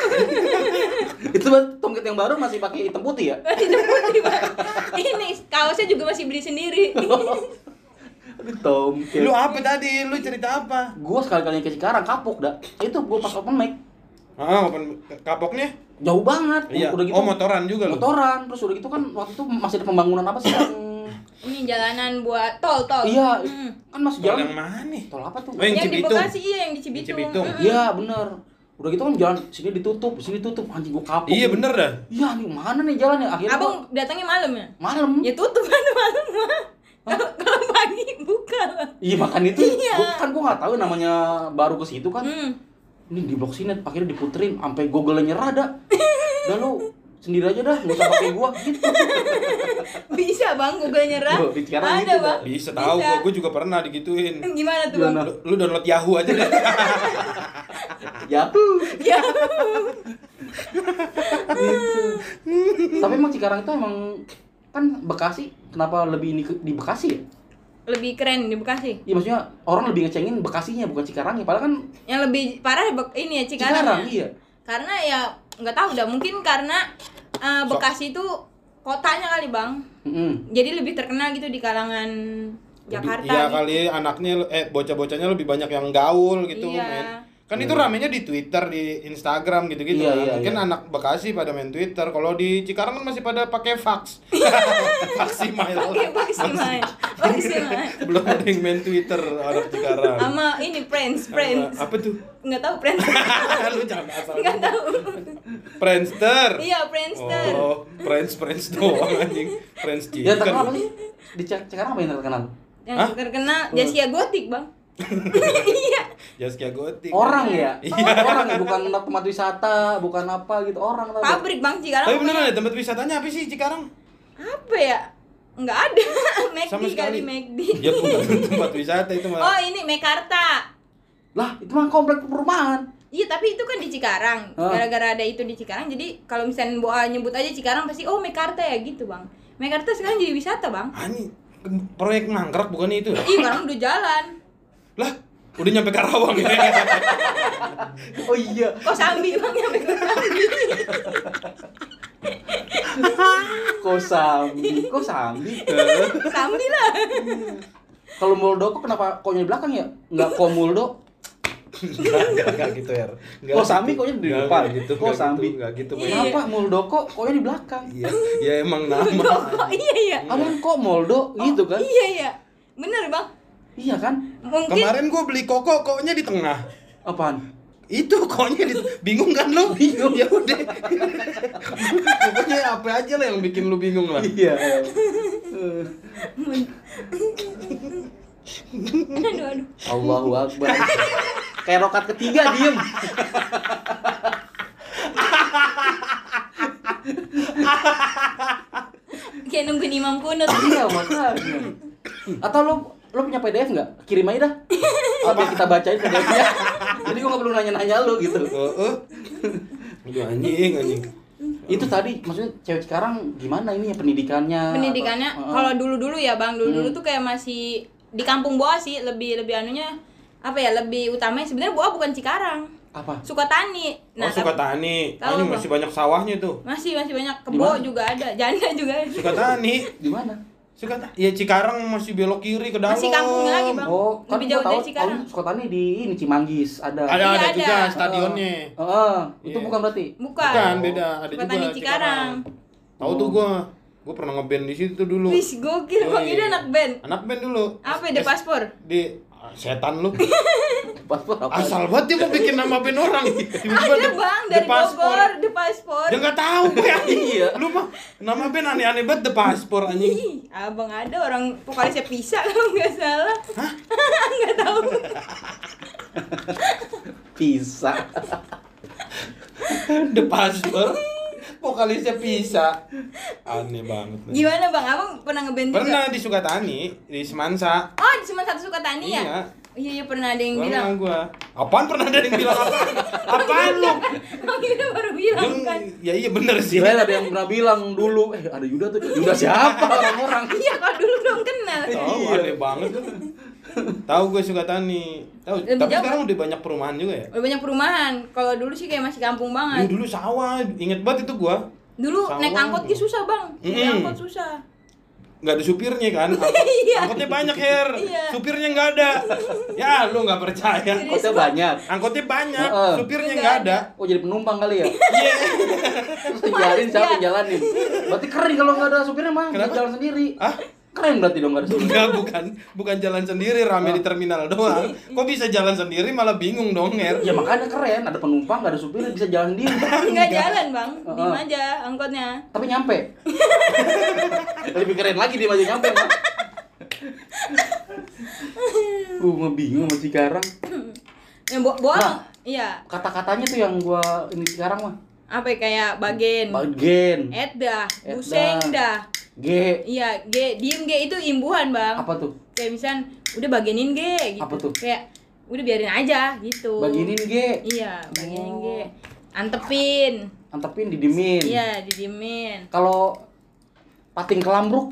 Itu buat tomcat yang baru masih pakai hitam putih ya? Masih putih bang ini kaosnya juga masih beli sendiri Aduh tomcat. Lu apa tadi? Lu cerita apa? Gue sekali-kali ke Cikarang kapok dah. Itu gue pas open mic Ah, open kapoknya? jauh banget. gitu Iya. Oh, motoran juga lu. Motoran terus udah gitu kan waktu itu masih ada pembangunan apa sih yang ini jalanan buat tol tol Iya, Hmm. kan masih Tol yang jalan. mana nih? Tol apa tuh? Oh, yang yang di Cibitung. Bekasi iya yang di Cibitung, Cibitung. Mm-mm. Iya bener Udah gitu kan jalan sini ditutup, sini tutup Anjing gua kapok Iya bener dah. Iya nih mana nih jalan ya Akhirnya abang gua datangnya malam ya malam ya tutup kan malam mah kalau kalau pagi buka lah Iya makan itu Iya. gua, Kan gua gak tahu namanya baru ke situ kan hmm. Ini di blok sini akhirnya diputerin Sampai google nyerah dah Udah lu sendiri aja dah Gak usah pakai gua gitu bisa bang Google nyerah Loh, di Cikarang ada gitu, bang Hmm, Bisa tahu gua, gua juga pernah digituin. gimana tuh bang Gimana? Iya. Lu, lu download Yahoo aja deh. Ya tuh ya gitu. Tapi emang Cikarang itu emang kan Bekasi kenapa lebih ini ke- di Bekasi ya? lebih keren di Bekasi Iya maksudnya orang lebih ngecengin Bekasinya bukan Cikarangnya. Padahal kan yang lebih parah di Bek- ini ya Cikarang, Cikarang, ya. iya. karena ya nggak tahu dah mungkin karena eh, Bekasi itu kotanya kali bang Mm-mm. jadi lebih terkenal gitu di kalangan Jakarta Iya gitu. kali anaknya eh bocah-bocahnya lebih banyak yang gaul gitu Iya. men. Kan itu ramenya di Twitter, di Instagram gitu-gitu. Iya, kan. iya, Mungkin iya. anak Bekasi pada main Twitter. Kalau di Cikarang kan masih pada pakai fax. Faksi mail. Oke, Paksimal. Paksimal. Belum ada yang main Twitter orang Cikarang. Sama ini friends, friends. Apa tuh? Nggak tahu friends. Lu jangan asal. Nggak tahu. Friendster. Iya, Friendster. Oh, friends friends doang anjing. Friends Ya terkenal apa chicken. sih? Di Cik- Cikarang apa yang terkenal? Yang Hah? terkenal Jasia Gotik, Bang. Jaskia Gotik. Orang ya? Iya. Orang ya, bukan tempat wisata, bukan apa gitu. Orang tau gak? Pabrik Bang Cikarang. Tapi beneran ya tempat wisatanya apa sih Cikarang? Apa ya? Nggak ada. Sama McD sekali. kali McD. Ya bukan tempat wisata itu Oh, malah. ini Mekarta. Lah, itu mah komplek perumahan. Iya, tapi itu kan di Cikarang. Hah? Gara-gara ada itu di Cikarang, jadi kalau misalnya Boa nyebut aja Cikarang pasti oh Mekarta ya gitu, Bang. Mekarta sekarang jadi wisata, Bang. Ani Ah, proyek mangkrak bukannya itu ya? Ih, sekarang udah jalan. Lah, udah nyampe Karawang ya. Oh iya. Oh sambi bang ya sambi. Kosambi, kosambi. sambi lah. Kalau Muldo kok kenapa koknya di belakang ya? Enggak kok Muldo. Enggak, enggak, enggak gitu ya. Kok Sami koknya di depan? gitu. Kok Sami? Enggak gitu, Bang. Iya. Kenapa Muldoko koknya di belakang? Iya, ya emang Muldo. nama. Oh, iya iya. Ada yang kok Moldo gitu kan? Iya iya. Bener bang. Iya kan? Mungkin Kemarin gua beli koko, koknya di tengah. Apaan? Itu koknya di bingung kan lu? Bingung. Ya udah. Pokoknya apa aja lah yang bikin lu bingung lah. Iya. aduh aduh. Allahu Akbar. Kayak rokat ketiga diem. Kayak nungguin imam kunut. Iya makanya. Atau lo lo punya PDF nggak? Kirim aja dah. Apa kita bacain PDF-nya? Jadi gua nggak perlu nanya-nanya lo gitu. Heeh. Aduh anjing, anjing. Itu tadi maksudnya cewek sekarang gimana ini ya pendidikannya? Pendidikannya Atau- kalau dulu dulu ya bang dulu Hmm. dulu tuh kayak masih di kampung Boa sih lebih lebih anunya apa ya lebih utamanya sebenarnya Boa bukan Cikarang. apa? Sukatani. Oh, Nah, tapi- Sukatani. Tahu, Ini Bang. masih banyak sawahnya tuh. Masih masih banyak Di kebo mana? juga ada, janda juga ada. Sukatani. Di mana? Suka ya Cikarang masih belok kiri ke dalam. Masih kampung lagi, Bang. Oh, kan Lebih gua jauh dari tahu- Cikarang. tahu Skotani di ini Cimanggis ada. Ada Iya, ada ada. juga stadionnya. Oh, oh, itu Iya. bukan berarti. Bukan. Bukan beda, ada Sukatani juga Cikarang. Oh. Tahu tuh gua. Gua pernah ngeband di situ dulu. Wis gokil bang Woi. itu anak band. Anak band dulu. Apa Oh, ya, The iya, S- Paspor? Di ah, setan lu. Paspor apa? Asal banget dia mau bikin nama band orang. Tiba-tiba Ada The- bang The dari Paspor. Bogor, The Paspor. Dia enggak tahu gue anjing. Iya. Lu mah nama band aneh-aneh banget The Paspor anjing. Ih, abang ada orang vokalisnya pisah kalau nggak salah. nggak tahu. Pizza. Kan The Paspor. Vokalisnya bisa. Aneh banget. Gimana bang? Abang pernah ngeband juga? Pernah di Sukatani, di Semansa. Oh, cuma satu suka tani ya? Iya. Iya, iya pernah ada yang bilang. Pernah gua. Apaan pernah ada yang bilang apa? Apaan lu? Oh, kita baru bilang Yang- kan. Ya iya bener sih. Gila ada yang pernah bilang dulu, eh ada Yuda tuh. Yuda siapa orang-orang? Iya, kalau dulu belum kenal. Tahu Iya. aneh banget. lu. Tahu gue suka tani. Tahu. Lebih Tapi jauh. kan? sekarang udah banyak perumahan juga ya. Udah banyak perumahan. Kalau dulu sih kayak masih kampung Dulu, banget. dulu sawah, inget banget itu gua. Dulu Sawah. naik angkot gitu susah bang. Naik Mm-mm. angkot susah. nggak ada supirnya kan. Angkotnya banyak her. Iya. Supirnya nggak ada. Ya lu nggak percaya. Iya. Kota banyak. Angkotnya banyak, Heeh. supirnya Nggak nggak ada. Oh jadi penumpang kali ya? Iya. Terus jalanin Iya. siapa yang jalanin? Berarti keren kalau nggak ada supirnya mah, dia Kenapa? jalan sendiri. Hah? Keren berarti dong nggak ada supir. Enggak, bukan bukan jalan sendiri rame di terminal doang. Kok bisa jalan sendiri malah bingung dong, Her. Ya makanya keren, ada penumpang, nggak ada supir, bisa jalan sendiri. Nggak jalan bang. Heeh. Diem aja angkotnya. Tapi nyampe. Lebih keren lagi dia maju nyampe. Mak. Uh, gua bingung sama Cikarang. Yang bo boang. Nah. Iya. Kata-katanya tuh yang gua ini Cikarang mah. Apa ya, kayak bagen. Bagen, Ed dah, Ed buseng dah. G, Iya, G, diem G itu imbuhan, Bang. apa tuh? Kayak misal udah bagenin G gitu. Apa tuh? Kayak udah biarin aja gitu. Baginin G. Iya, bagenin Oh. G. Antepin. antepin didimin Iya, didimin. kalau pating kelambruk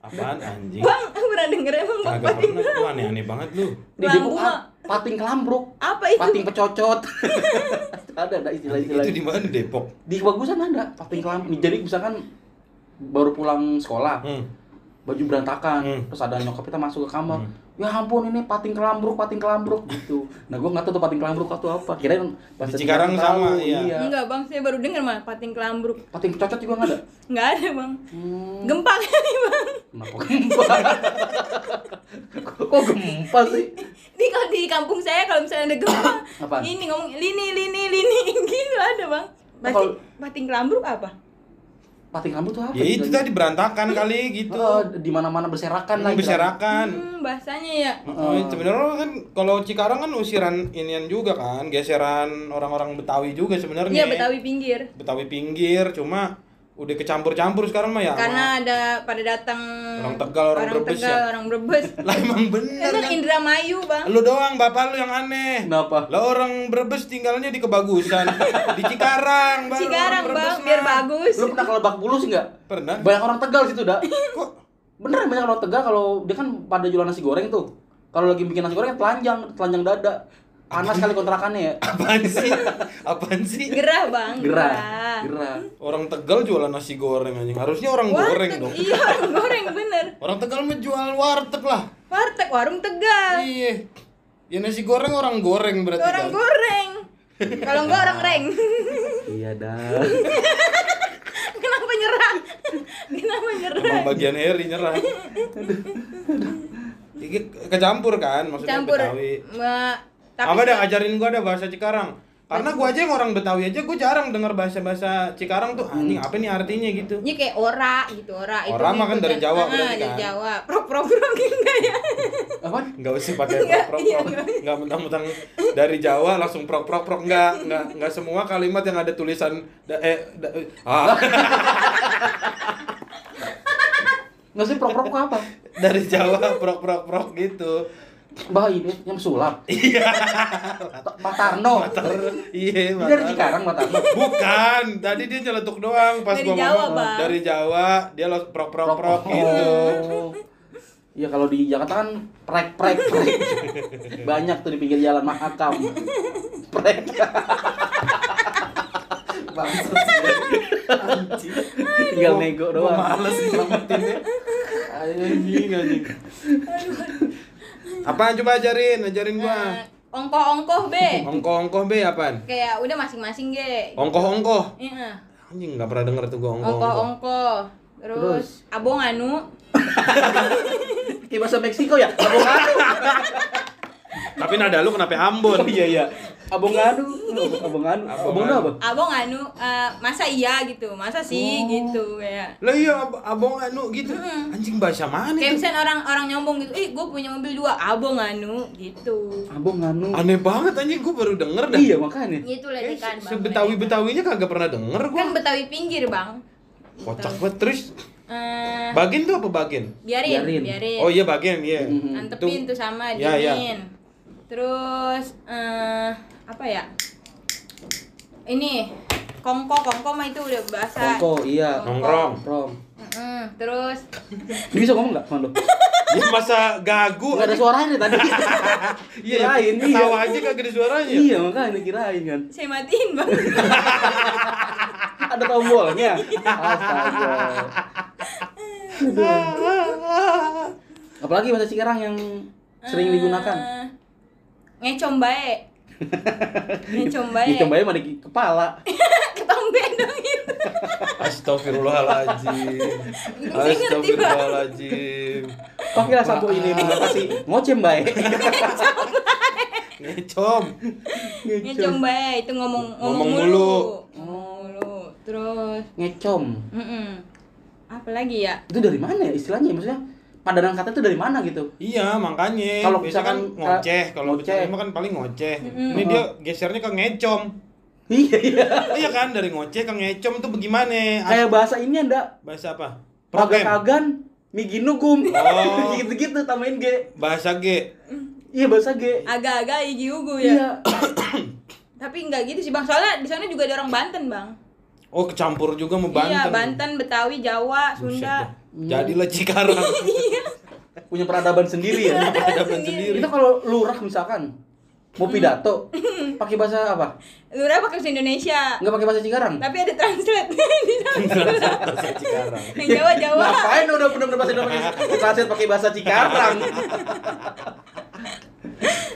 Apaan anjing? Bang, pernah denger emang Bang Kagak Pating? pernah, lu aneh-aneh banget lu di Depok Kelambruk. a- pating kelambruk Apa itu? pating pecocot ada ada istilah-istilah gitu. Itu di mana Depok? di bagusan ada pating kelam nih, jadi misalkan baru pulang sekolah Hmm. baju berantakan Hmm. terus ada nyokap kita masuk ke kamar Hmm. ya ampun ini pating kelambruk pating kelambruk gitu nah gue nggak tahu tuh pating kelambruk itu apa kirain bahasa Di Cikarang Cina tahu, sama, iya. Enggak, Bang. Saya baru denger mah pating kelambruk. pating pecocot juga nggak ada Enggak ada, Bang. hmm, Gempa kali, Bang. kenapa gempa kok kok gempa sih Di kalau di kampung saya kalau misalnya ada gempa, Apaan? ini ngomong lini lini lini gitu ada, Bang. Pating, Nah, Kalau- pating kelambruk apa? pating kelambruk tuh apa Ya itu istilahnya? tadi berantakan kali gitu Oh, di mana-mana berserakan Ini lah istilahnya. berserakan Hmm, bahasanya ya. Oh, sebenarnya kan kalau Cikarang kan usiran inian juga kan, geseran orang-orang Betawi juga sebenarnya. ya? Iya, Betawi pinggir. Betawi pinggir, cuma udah kecampur-campur sekarang mah ya. Karena ada pada datang Orang Tegal, orang Brebes Tegal, ya? orang Brebes. lah emang bener Kan kan. Indramayu, Bang. Lu doang bapak lu yang aneh. Kenapa? Lah orang Brebes tinggalnya di kebagusan, di Cikarang, Bang. Cikarang, Orang Bang, Brebes biar mah. bagus. Lu pernah ke Lebak Bulus nggak? Pernah? Banyak orang Tegal situ, dah. Kok Bener banyak orang Tegal kalau dia kan pada jualan nasi goreng tuh. Kalau lagi bikin nasi goreng telanjang, telanjang dada. Panas kali kontrakannya ya. apaan sih? Apaan sih? Gerah, Bang. Gerah, gerah. Orang Tegal jualan nasi goreng anjing. Harusnya orang goreng Warteg, dong. Iya, orang goreng bener. Orang Tegal mah jual warteg lah. Warteg warung Tegal. Iya. Ya nasi goreng orang goreng berarti. Orang kan? goreng. Kalau enggak orang reng. Iya dah. Kenapa nyerah? Kenapa nyerah? Emang bagian Eri nyerah. Jadi kecampur kan maksudnya Campur. Betawi. Ma- Apa tapi dah ajarin gua ada bahasa Cikarang. Karena gua aja yang orang Betawi aja gua jarang dengar bahasa-bahasa Cikarang tuh anjing apa nih artinya gitu. ini kayak ora gitu, ora itu. Ora mah kan dari ngikutin. Jawa Ah, berarti dari kan. Iya. Jawa. Prok prok prok enggak ya. Apaan? Enggak usah pakai prok prok iya, prok. Enggak mentang-mentang dari Jawa langsung prok prok prok enggak enggak enggak semua kalimat yang ada tulisan da- eh da- eh. ah Nggak sih prok-prok gua apa? dari Jawa prok prok prok gitu. Bah ini yang sulap. Iya. Matarno. Iya, Ini dari makanya. Cikarang Matarno. Bukan, tadi dia nyeletuk doang pas Dari gua Jawa, ngomong Bang. dari Jawa, dia lo prok prok prok gitu. Oh. Iya kalau di Jakarta kan prek prek prek. Banyak tuh di pinggir jalan mahakam. Prek. Bangsat sih. Anjing. Tinggal nego doang. Males ngelametinnya. Anjing anjing. Apaan coba ajarin, ajarin Nah. gua. Nah, Ongkoh-ongkoh, Be. Ongkoh-ongkoh be apaan? Kayak udah masing-masing, Ge. Oh. Ongkoh-ongkoh. Iya. Anjing nggak pernah denger tuh Oh, gua ongkoh-ongkoh. Ongkoh-ongkoh. Terus? Terus abong anu. Kayak bahasa Meksiko ya? Abongado. Tapi nada lu kenapa Ambon? Oh iya iya. Abongado. Abongado. Abongado apa? abong anu eh, masa iya gitu masa Oh. sih gitu kayak Lah iya ab- abong anu gitu. Anjing bahasa mana itu? kayak misalnya orang orang nyombong gitu ih gue punya mobil dua abong anu gitu Abongado. Aneh banget anjing gua baru denger dah. Iya makanya. itu Kayak ledekan Eh, se- bang Sebetawi-betawinya kagak pernah denger ledekan. gua. kan Gitu. betawi pinggir bang Kocak banget terus. Eh, Bagin tuh apa bagin? biarin Biarin. biarin, Oh iya bagin, iya. Hmm, Mhm. antepin tuh sama Iya, iya. dingin terus eh apa ya ini kongko kongko mah itu udah bahasa Kongko iya. Nongkrong. Nongkrong. Mm-mm. terus Dia bisa ngomong nggak sama lo? Ya masa gagu Gak ada suaranya tadi. Iya, Kirain, iya. ketawa aja kagak ada suaranya. Iya makanya kirain kan. saya matiin bang Ada tombolnya. Astaga. Ah, Aduh. Apalagi bahasa Cikarang yang sering digunakan. Eh, ngecom bae ngecom bae Itu bayi mana di kepala. ketombe dong itu Astagfirullahaladzim. Saya ngerti, Bang. Astagfirullahaladzim. Pakai lah sapu ini mengatasi ngocem bayi. Iya, Ngecom. ngecom bae itu ngomong Ngomong ngomong mulu. mulu ngomong mulu terus Ngecom. mm apa lagi ya Itu dari mana ya istilahnya? Maksudnya padanan kata itu dari mana gitu? Iya, makanya. Kalau biasa kan misalkan, ngoceh, eh, kalau ngoceh. bercanda mah kan paling ngoceh. Ini dia gesernya ke ngecom. Iya iya. iya kan dari ngoceh ke ngecom tuh bagaimana? Kayak bahasa ini ada Bahasa apa? Program. pagak-agan miginugum. Oh. Gitu-gitu tambahin G. Bahasa G. Iya bahasa G. agak-agak igi ugu ya Iya. tapi nggak gitu sih bang soalnya di sana juga ada orang Banten bang Oh, kecampur juga sama Banten. iya Banten Betawi Jawa Buset dah. Sunda Jadilah Cikarang. punya peradaban sendiri ya Iya. Peradaban sendiri. kita kalau lurah misalkan mau pidato pakai bahasa apa Lurah pakai bahasa Indonesia nggak pakai bahasa Cikarang tapi ada translate di sana. Bahasa Cikarang. yang Jawa Jawa Nah, kan- ngapain udah bener-bener bahasa Indonesia translate pakai bahasa Cikarang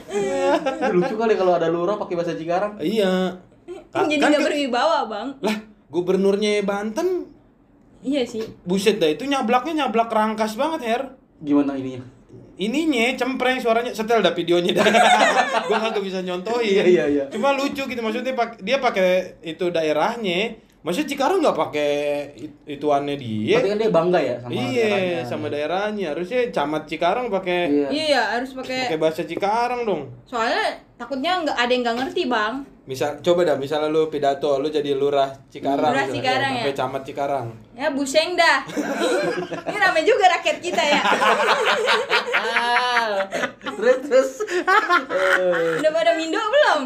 Itu lucu kali kalau ada lurah pakai bahasa Cikarang Iya. Ka- jadi kan nggak ke- berwibawa bang lah, gubernurnya Banten iya sih buset dah itu nyablaknya nyablak rangkas banget, Her. gimana ininya Ininya cempreng suaranya setel dah videonya dah. gua kagak bisa nyontohin. Iya, iya, iya. Cuma lucu gitu maksudnya pak- dia pakai itu daerahnya. Maksudnya Cikarang nggak pakai it- ituannya dia. berarti kan dia bangga ya sama iya, daerahnya. sama daerahnya. Harusnya camat Cikarang pakai iya iya ya harus pakai pakai bahasa Cikarang dong. soalnya takutnya nggak ada yang nggak ngerti bang Misal coba dah misalnya lu pidato, lu jadi lurah Cikarang, Lurah misalnya, Cikarang ya. sampai camat Cikarang. ya buseng dah ini ramai juga rakyat kita ya Ah, terus terus udah pada mindo belum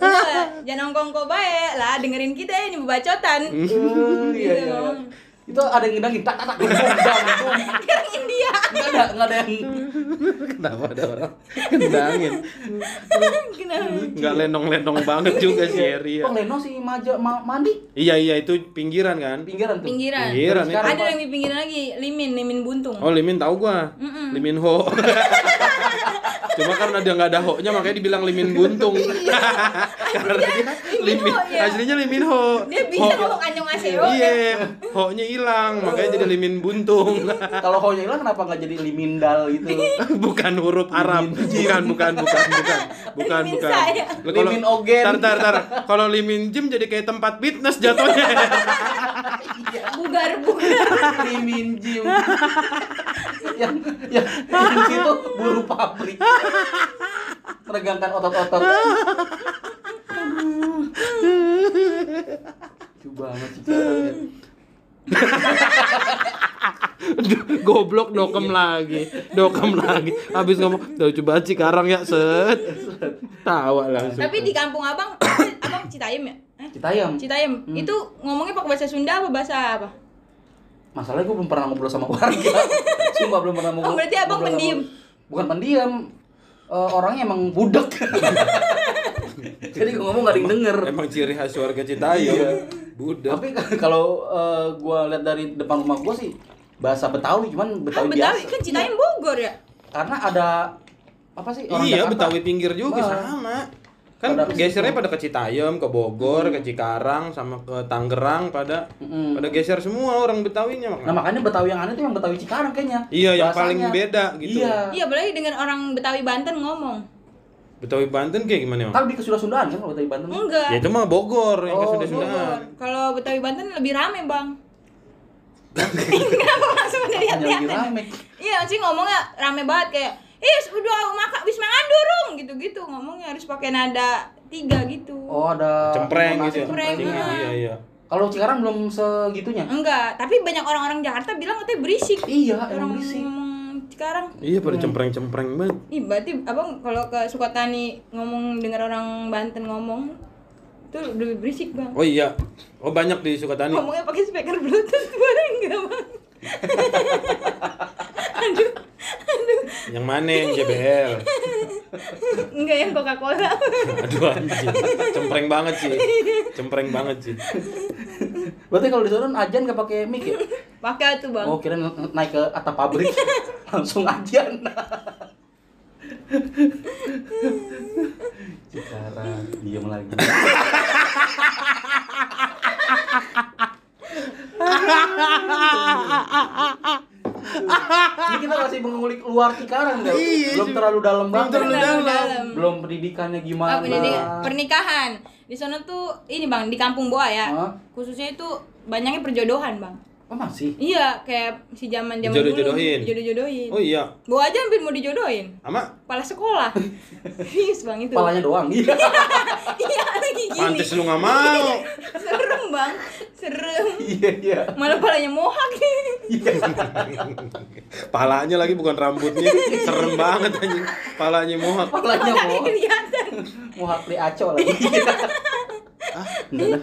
Wah, jangan nongkong bae lah dengerin kita ya ini bebacotan Eh, iya, iya, iya. itu ada yang ngedangin tak tak tak bum, bum, bum, bum. orang India nggak ada nggak ada yang Kenapa ada orang kendangin? kenapa Enggak lenong-lenong banget juga sih Eri. ya. Bang Iya. Leno si maja ma- mandi Iya iya itu pinggiran kan? pinggiran tuh pinggiran Pinggiran itu. ada yang di pinggiran lagi limin limin buntung Oh Limin tahu gua. Mm-mm. Limin Ho. Cuma karena dia nggak ada ho-nya makanya dibilang Limin Buntung. karena dia Iya, Limin Limin, Ho, ya. aslinya Limin Ho. dia bisa Ho- ngomong anyong aseo Iya, ho-nya hilang makanya jadi Limin Buntung. kalau kau hilang kenapa nggak jadi limindal gitu bukan huruf Arab bukan bukan bukan bukan bukan Limin bukan saya. Lah, kalau- Limin Ogen. tar tar tar kalau limin gym jadi kayak tempat fitness jatuhnya bugar bugar limin gym yang yang yang situ buru pabrik meregangkan otot-otot Aduh. lucu banget sih caranya. goblok dokem lagi dokem lagi habis ngomong tuh coba cikarang ya set tawa langsung tapi di kampung abang abang citayam ya Eh, Citayam Citayam Hmm. itu ngomongnya pakai bahasa Sunda apa bahasa apa? masalahnya gue belum pernah ngobrol sama warga sumpah belum pernah ngobrol Oh, berarti abang ngobrol sama- pendiam. bukan pendiam Eh, orangnya emang budek jadi gue ngomong gak ada yang denger emang ciri khas warga Citayam budak Iya. tapi kan kalau eh, gua lihat dari depan rumah gua sih bahasa Betawi cuman Ah, Betawi, Betawi biasa Iya, kan Citayam Bogor ya. karena ada apa sih orang iya Jakarta. Betawi pinggir juga Bah. sama kan Pada ke gesernya pada ke Citayam, ke Bogor, ke Cikarang, sama ke Tangerang pada Mm-mm. pada geser semua orang Betawinya makanya. nah makanya Betawi yang aneh tuh yang Betawi Cikarang kayaknya Iya, yang Bahasanya. paling beda gitu. iya Iya, apalagi dengan orang Betawi Banten ngomong. Betawi Banten kayak gimana, Bang? kan lebih ke Sunda Sundaan kan kalau Betawi Banten Ya Enggak. itu mah Bogor yang Oh, oh, sudah Bogor. Kalau Betawi Banten lebih rame, Bang. Kenapa langsung udah lihat Hanya lebih rame Iya, sih ngomongnya rame banget kayak Is, udah makan bis mangan durung gitu-gitu ngomongnya harus pakai nada tiga gitu. oh ada cempreng gitu. intonasi ya. Cempreng, Hmm. Iya, ah. Iya, iya. kalau Cikarang belum segitunya Enggak, tapi banyak orang-orang Jakarta bilang katanya berisik. iya Orang emang sih ngomong sekarang Iya, pada cempreng-cempreng banget. Ih, berarti abang kalau ke Sukatani ngomong dengar orang Banten ngomong itu lebih berisik bang. Oh iya. Oh banyak di Sukatani. Ngomongnya pakai speaker bluetooth boleh nggak bang? aduh, aduh, Yang mana yang JBL? nggak yang Coca Cola. Aduh anjing. Cempreng banget sih. Cempreng banget sih. berarti kalau di Sunda ajan gak pakai mic ya pakai tuh bang. Oh kira naik ke atap pabrik langsung ajian. Cikarang diam lagi. Ini kita masih mengulik luar Cikarang deh. Iya, belum sih. terlalu dalam banget. terlalu dalam. Belum pendidikannya gimana? Ah, pendidikan- pernikahan di sana tuh ini bang di kampung Boa ya. Hah? Khususnya itu banyaknya perjodohan bang. Oh masih. Iya kayak si zaman zaman Dijodoh-jodohin. dulu. Jodoh-jodohin. Oh iya. Boa aja hampir mau dijodohin. Ama kepala sekolah serius bang itu Kepalanya doang. Iya. iya lagi gini pantes lu nggak mau. serem bang serem Iya iya. malah palanya mohak Palanya lagi bukan rambutnya. Serem banget anjing. Palanya mohak. Palanya Kaki mau kelihatan. mau hakli aco lagi. Ah, enggak dah.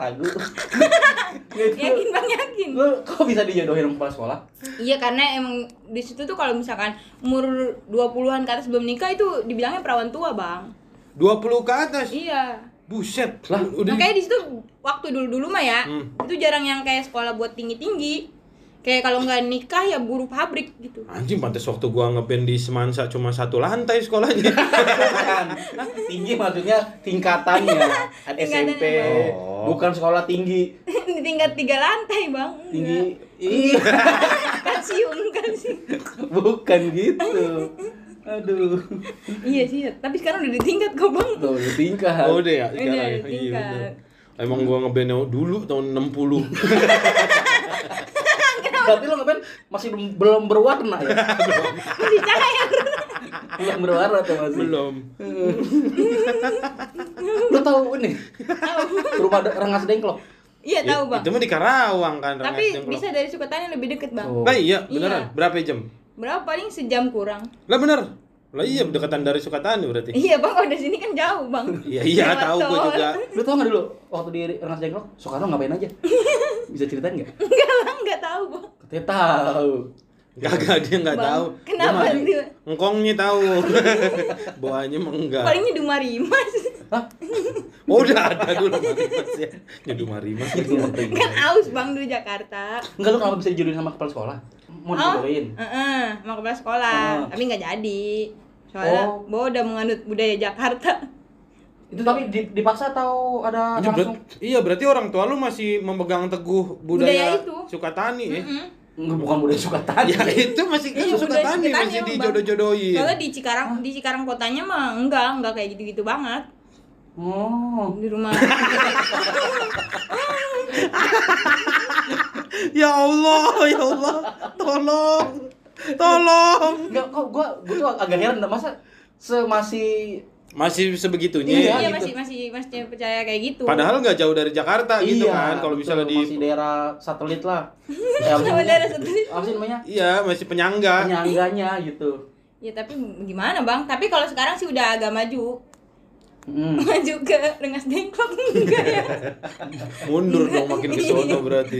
Ragu. Yakin bang yakin. Lu kok bisa dijodohin sama kepala sekolah? Iya karena emang di situ tuh kalau misalkan umur 20-an ke atas belum nikah itu dibilangnya perawan tua, Bang. 20 ke atas. Iya. Buset. Lah, udah Makanya di situ waktu dulu-dulu mah ya, Hmm. itu jarang yang kayak sekolah buat tinggi-tinggi. Kayak kalau nggak nikah ya buru pabrik gitu. Anjing pantas waktu gua ngeband di Semansa cuma satu lantai sekolahnya. Bukan. tinggi maksudnya tingkatannya. Kan Ada Tingkatan SMP. apa? Oh. Bukan sekolah tinggi. di tingkat tiga lantai, Bang. Tinggi. Ih, Kasium kasih. bukan gitu. Aduh. iya sih, tapi sekarang udah di tingkat kok, Bang. Tuh, lu tingkat. Oh udah ya sekarang. Udah, ya? Iya tingkat. bener. Emang gua ngeband dulu tahun 60. Berarti lu ngapain masih belum, belum berwarna ya? Masih cair. belum berwarna tuh masih. Belum. Lu tahu ini? Rumah de- rengas dengklok. Iya, Ya, tahu, Bang. Itu mah di Karawang kan Tapi Rengas Dengklok. bisa dari Sukatani lebih deket, Bang. Oh. Lah iya, beneran. Iya. Berapa jam? Berapa paling sejam kurang? Lah bener. Lah iya dekatan dari Sukatani berarti. Iya bang, kalau dari sini kan jauh bang. Iya iya Lewat tahu gua tol. juga. Lu tau gak dulu waktu di rengas dengklok Soekarno ngapain aja? Bisa ceritain gak? Enggak bang, enggak tahu bang. Katanya tahu. Kagak dia nggak Bang, tahu. Dia mah- Kenapa sih? Engkongnya tahu. Bawahnya mah enggak. Palingnya Duma Rimas. Hah? Oh, udah ada dulu Marimas ya. Nyeduh Marimas lagi. Gitu ngerti. kan aus bang dulu Jakarta. Enggak lu kenapa bisa dijodohin sama kepala sekolah? Mau Oh, dijodohin? Heeh, sama kepala sekolah, Ah. tapi nggak jadi. Soalnya Oh. Bo udah menganut budaya Jakarta. Itu tapi di- dipaksa atau ada Iya, langsung? ber- iya berarti orang tua lu masih memegang teguh budaya, Budaya itu. Sukatani ya. Mm-mm. Enggak, bukan budaya Sukatani. Ya itu masih kan Iya, budaya Sukatani Sukatani masih emang, Bang. dijodoh-jodohin. Soalnya di Cikarang, di Cikarang kotanya mah enggak, enggak kayak gitu-gitu banget. Oh. Di rumah. Ya Allah, ya Allah, tolong. Tolong. Enggak, kok gua gua tuh agak heran masa semasih Masih sebegitunya. Iya, iya gitu. masih masih masih percaya kayak gitu. Padahal nggak jauh dari Jakarta gitu kan kalau Iya, betul, misalnya masih di daerah satelit lah. Ya, apa sih Sama namanya? daerah satelit. Apa sih namanya? Iya, masih penyangga. Penyangganya gitu. Ya tapi gimana bang? Tapi kalau sekarang sih udah agak maju. Hmm. Maju ke Rengas Dengklok enggak ya? Mundur dong makin ke Iya. sono berarti.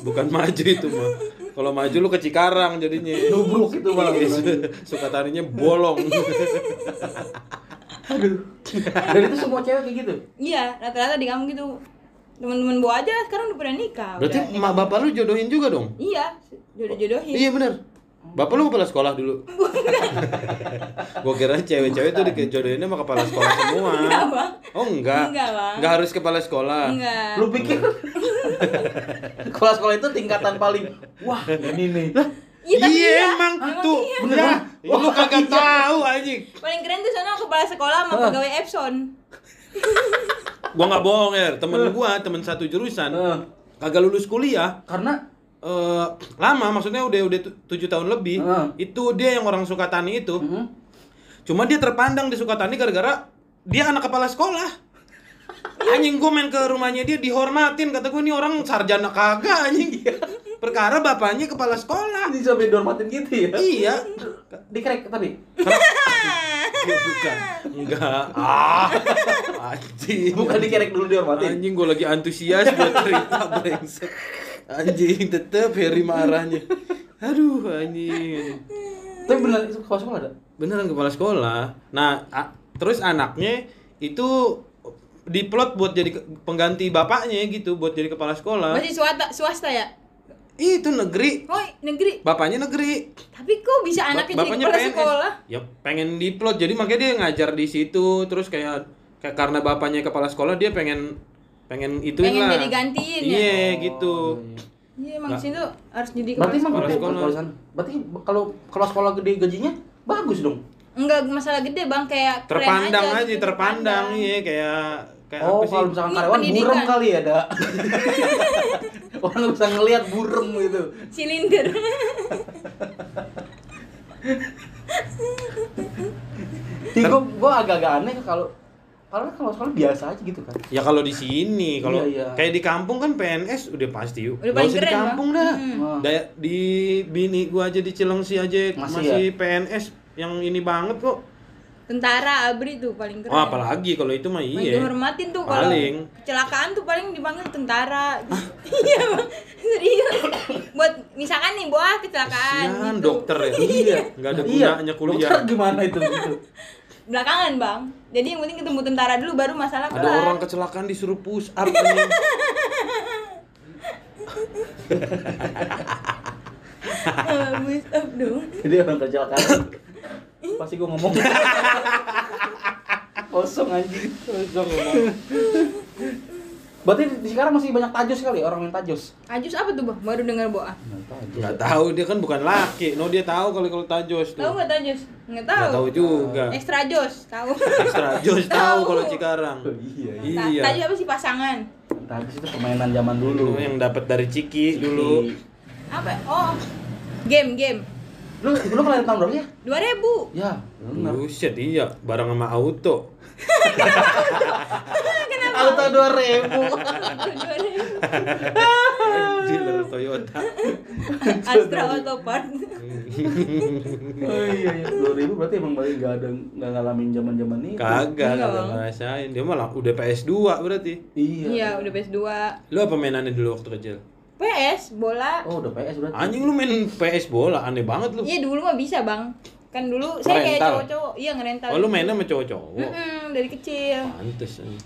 Bukan maju itu mah. Kalau maju lu ke Cikarang jadinya. Nubruk itu malah. Sukataninya bolong. Dan itu semua cewek kayak gitu. Iya, rata-rata di kamu gitu. Teman-teman gua aja sekarang udah pernah nikah. Berarti udah. emak bapak lu jodohin juga dong? Iya, jodoh-jodohin. Iya bener Bapak lu kepala sekolah dulu? Gua kira cewek-cewek tuh dijodohinnya sama kepala sekolah semua Enggak, Bang. Oh enggak? Enggak, Bang. Enggak harus kepala sekolah? Enggak. Lu pikir sekolah-sekolah itu tingkatan paling wah ini nih. Iya, tapi iya. emang Emang tuh iya. bener ya, lu kagak tahu anjing Paling keren tuh soalnya kepala sekolah sama Hah. pegawai Epson. gua nggak bohong ya temen gua temen satu jurusan Eh, kagak lulus kuliah karena eh, lama maksudnya udah udah tu- tujuh tahun lebih Heeh. itu dia yang orang Sukatani itu hmm, Cuma dia terpandang di Sukatani gara-gara dia anak kepala sekolah. Anjing gue main ke rumahnya dia dihormatin kata gue ini orang sarjana kagak anjing. Perkara bapaknya kepala sekolah. ini sampai dihormatin gitu ya. Iya. Dikrek tapi Ya, bukan. Enggak. Ah. Anjing. bukan dikrek dulu dihormatin. Anjing gue lagi antusias buat cerita brengsek. Anjing tetep Harry marahnya. Aduh anjing. Tapi benar itu kepala sekolah ada. beneran kepala sekolah nah a- terus anaknya itu diplot buat jadi ke- pengganti bapaknya gitu buat jadi kepala sekolah Masih swasta, swasta ya? Ih, itu negeri Oh, negeri. bapaknya negeri Tapi kok bisa Ba- anaknya jadi kepala sekolah? ya pengen diplot jadi makanya dia ngajar di situ terus kayak, kayak karena bapaknya kepala sekolah dia pengen pengen itu Pengen lah jadi gantiin ya? iya gitu Oh, Iya, emang Nggak. sini tuh harus jadi Berarti kepala emang Kepala gede sekolah. kalau sana. Berarti kalau kalau sekolah gede gajinya bagus dong. Enggak masalah gede bang kayak keren terpandang aja, gitu, terpandang iya kayak kayak oh, apa sih kalau misalkan Ini karyawan pendidikan. burem kali ya, ada. Orang nggak bisa ngelihat burem gitu. silinder Jadi gua, gua agak-agak aneh kalau Padahal kalau sekolah biasa aja gitu kan. Ya kalau di sini, kalau Iya, iya. kayak di kampung kan PNS udah pasti yuk. Nggak Udah paling usah di keren, kampung Bang. dah. Hmm. Wah. Daya- di bini gua aja di Cilengsi aja Masih masih, ya? PNS yang ini banget kok. Tentara abri tuh paling keren. Oh, apalagi kalau itu mah Paling iya. dihormatin tuh kalau Paling. kecelakaan tuh paling dipanggil tentara. Iya bang, serius. Buat misalkan nih buah kecelakaan. Kasihan gitu. dokter ya. Iya, enggak ada Iya, gunanya Dokter kuliah. gimana itu gitu. Belakangan bang. Jadi yang penting ketemu tentara dulu baru masalah Ada kelar. orang kecelakaan disuruh push up anjing. Bagus, up dong. Jadi orang kecelakaan. Pasti gua ngomong. Kosong anjing. Kosong ngomong. Berarti di sekarang masih banyak tajos kali ya, orang main tajos. Ajus Ah, apa tuh bang? Baru dengar boa. Enggak tahu dia kan bukan laki. No dia tahu kalau kalau tajos tuh. Tahu nggak tajus? Nggak Nggak tahu tahu. juga. Extra jos, tahu. Extra Jos tahu Tahu. kalau Cikarang. Iya, iya. Ta- Iya. Tajus apa sih pasangan? Tajos itu permainan zaman Dulu dulu. yang dapat dari Ciki dulu. Apa? Oh, game game. Lu lu kelahiran tahun berapa ya? 2000 Ya, benar. Buset iya, bareng sama auto. Auto 2000. 2000 Dealer Toyota. Astra Auto Part Oh iya, iya. 2000 berarti emang paling enggak ada enggak ngalamin zaman-zaman itu. Kagak, Enggak, kagak Bang. ngerasain. Dia malah udah PS2 berarti. Iya. Iya udah PS2 Lu apa mainannya dulu waktu kecil? PS, bola Oh, udah PS berarti. Anjing lu main PS bola, aneh banget lu. Iya dulu mah bisa bang Kan dulu saya kayak Ngerental. cowok-cowok Iya ngerental Oh, lu mainnya sama cowok-cowok. Mm-mm, dari kecil Pantes anjing.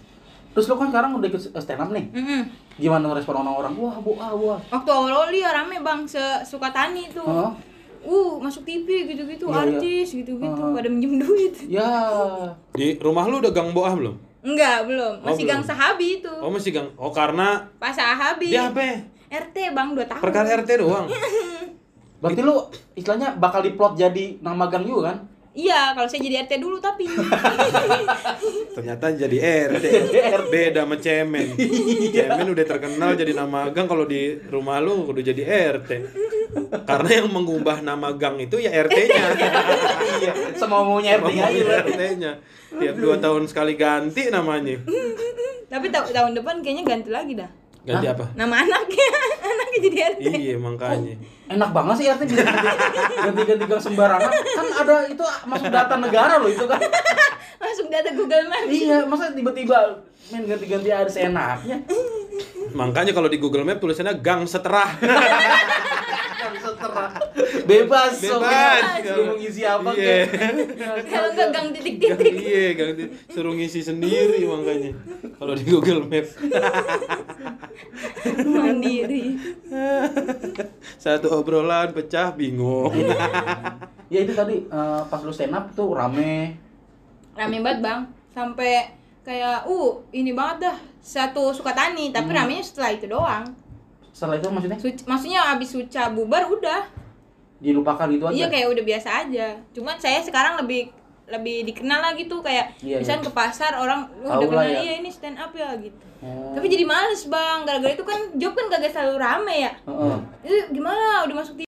Terus lu kan sekarang udah ikut stand up nih. Mm-mm. Gimana respon orang-orang? Wah, boa, boa. Waktu awal-awal dia rame bang Suka tani tuh Hah? Uh masuk TV gitu-gitu Oh. Iya, iya. Artis gitu-gitu Ah. Pada minjem duit Ya. Di rumah lu udah gang boah belum? Enggak belum Oh, Masih belum. gang sahabi itu Oh, masih gang. Oh, karena Pas sahabi dia apa? ya? RT bang 2 tahun Perkara RT doang. Iya. Berarti lu istilahnya bakal diplot jadi nama gang juga kan? Iya kalau saya jadi RT dulu tapi Ternyata jadi RT. Beda sama cemen. Iya. Cemen udah terkenal jadi nama gang kalau di rumah lu udah jadi RT. Karena yang mengubah nama gang itu ya RT-nya. Iya, semau maunya RT aja berarti. RT-nya. Tiap dua tahun sekali ganti namanya. Tapi ta- tahun depan kayaknya ganti lagi dah Ganti apa? Nama anaknya Anaknya jadi RT Iya, makanya. Enak banget sih RT bisa ganti- ganti-ganti gang sembarangan. Kan ada itu masuk data negara loh itu kan. Masuk data Google Maps Iya, masa tiba-tiba main ganti-ganti ada seenaknya. Makanya kalau di Google Map tulisannya gang seterah. Iya. Terserah. Bebas. Bebas. Lu mau ngisi apa Iya. kek. Kalau nggak gang titik-titik iya, gang di- suruh ngisi sendiri makanya. Kalau di Google Map. Mandiri Satu obrolan pecah bingung. Ya itu tadi eh, pas lu stand up tuh rame. Rame banget bang Sampai kayak uh ini banget dah Satu Sukatani Tapi Hmm. ramenya setelah itu doang Setelah itu maksudnya Suc- Maksudnya abis Suca bubar udah dilupakan gitu aja. Iya kayak udah biasa aja. Cuman saya sekarang lebih lebih dikenal lah gitu kayak Iya, misalnya ke pasar orang "Wah, udah Tahu lah kenal ya. iya ini stand up ya gitu. Oh. Tapi jadi males bang, gara-gara itu kan job kan kagak selalu rame ya. Heeh. Itu gimana udah masuk TV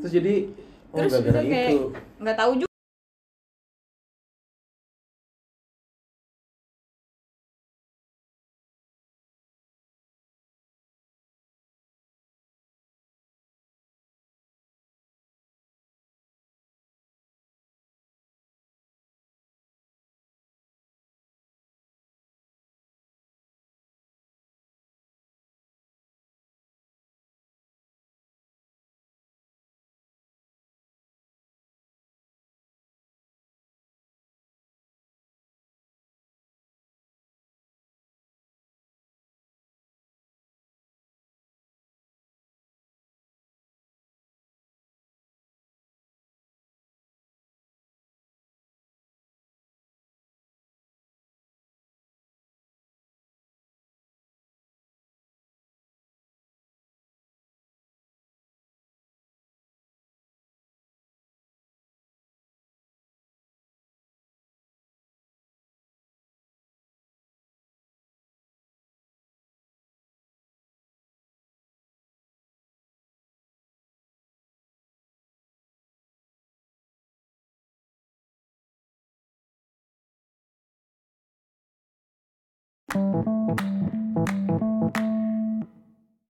Terus jadi oh terus gara-gara udah kayak itu. nggak tahu juga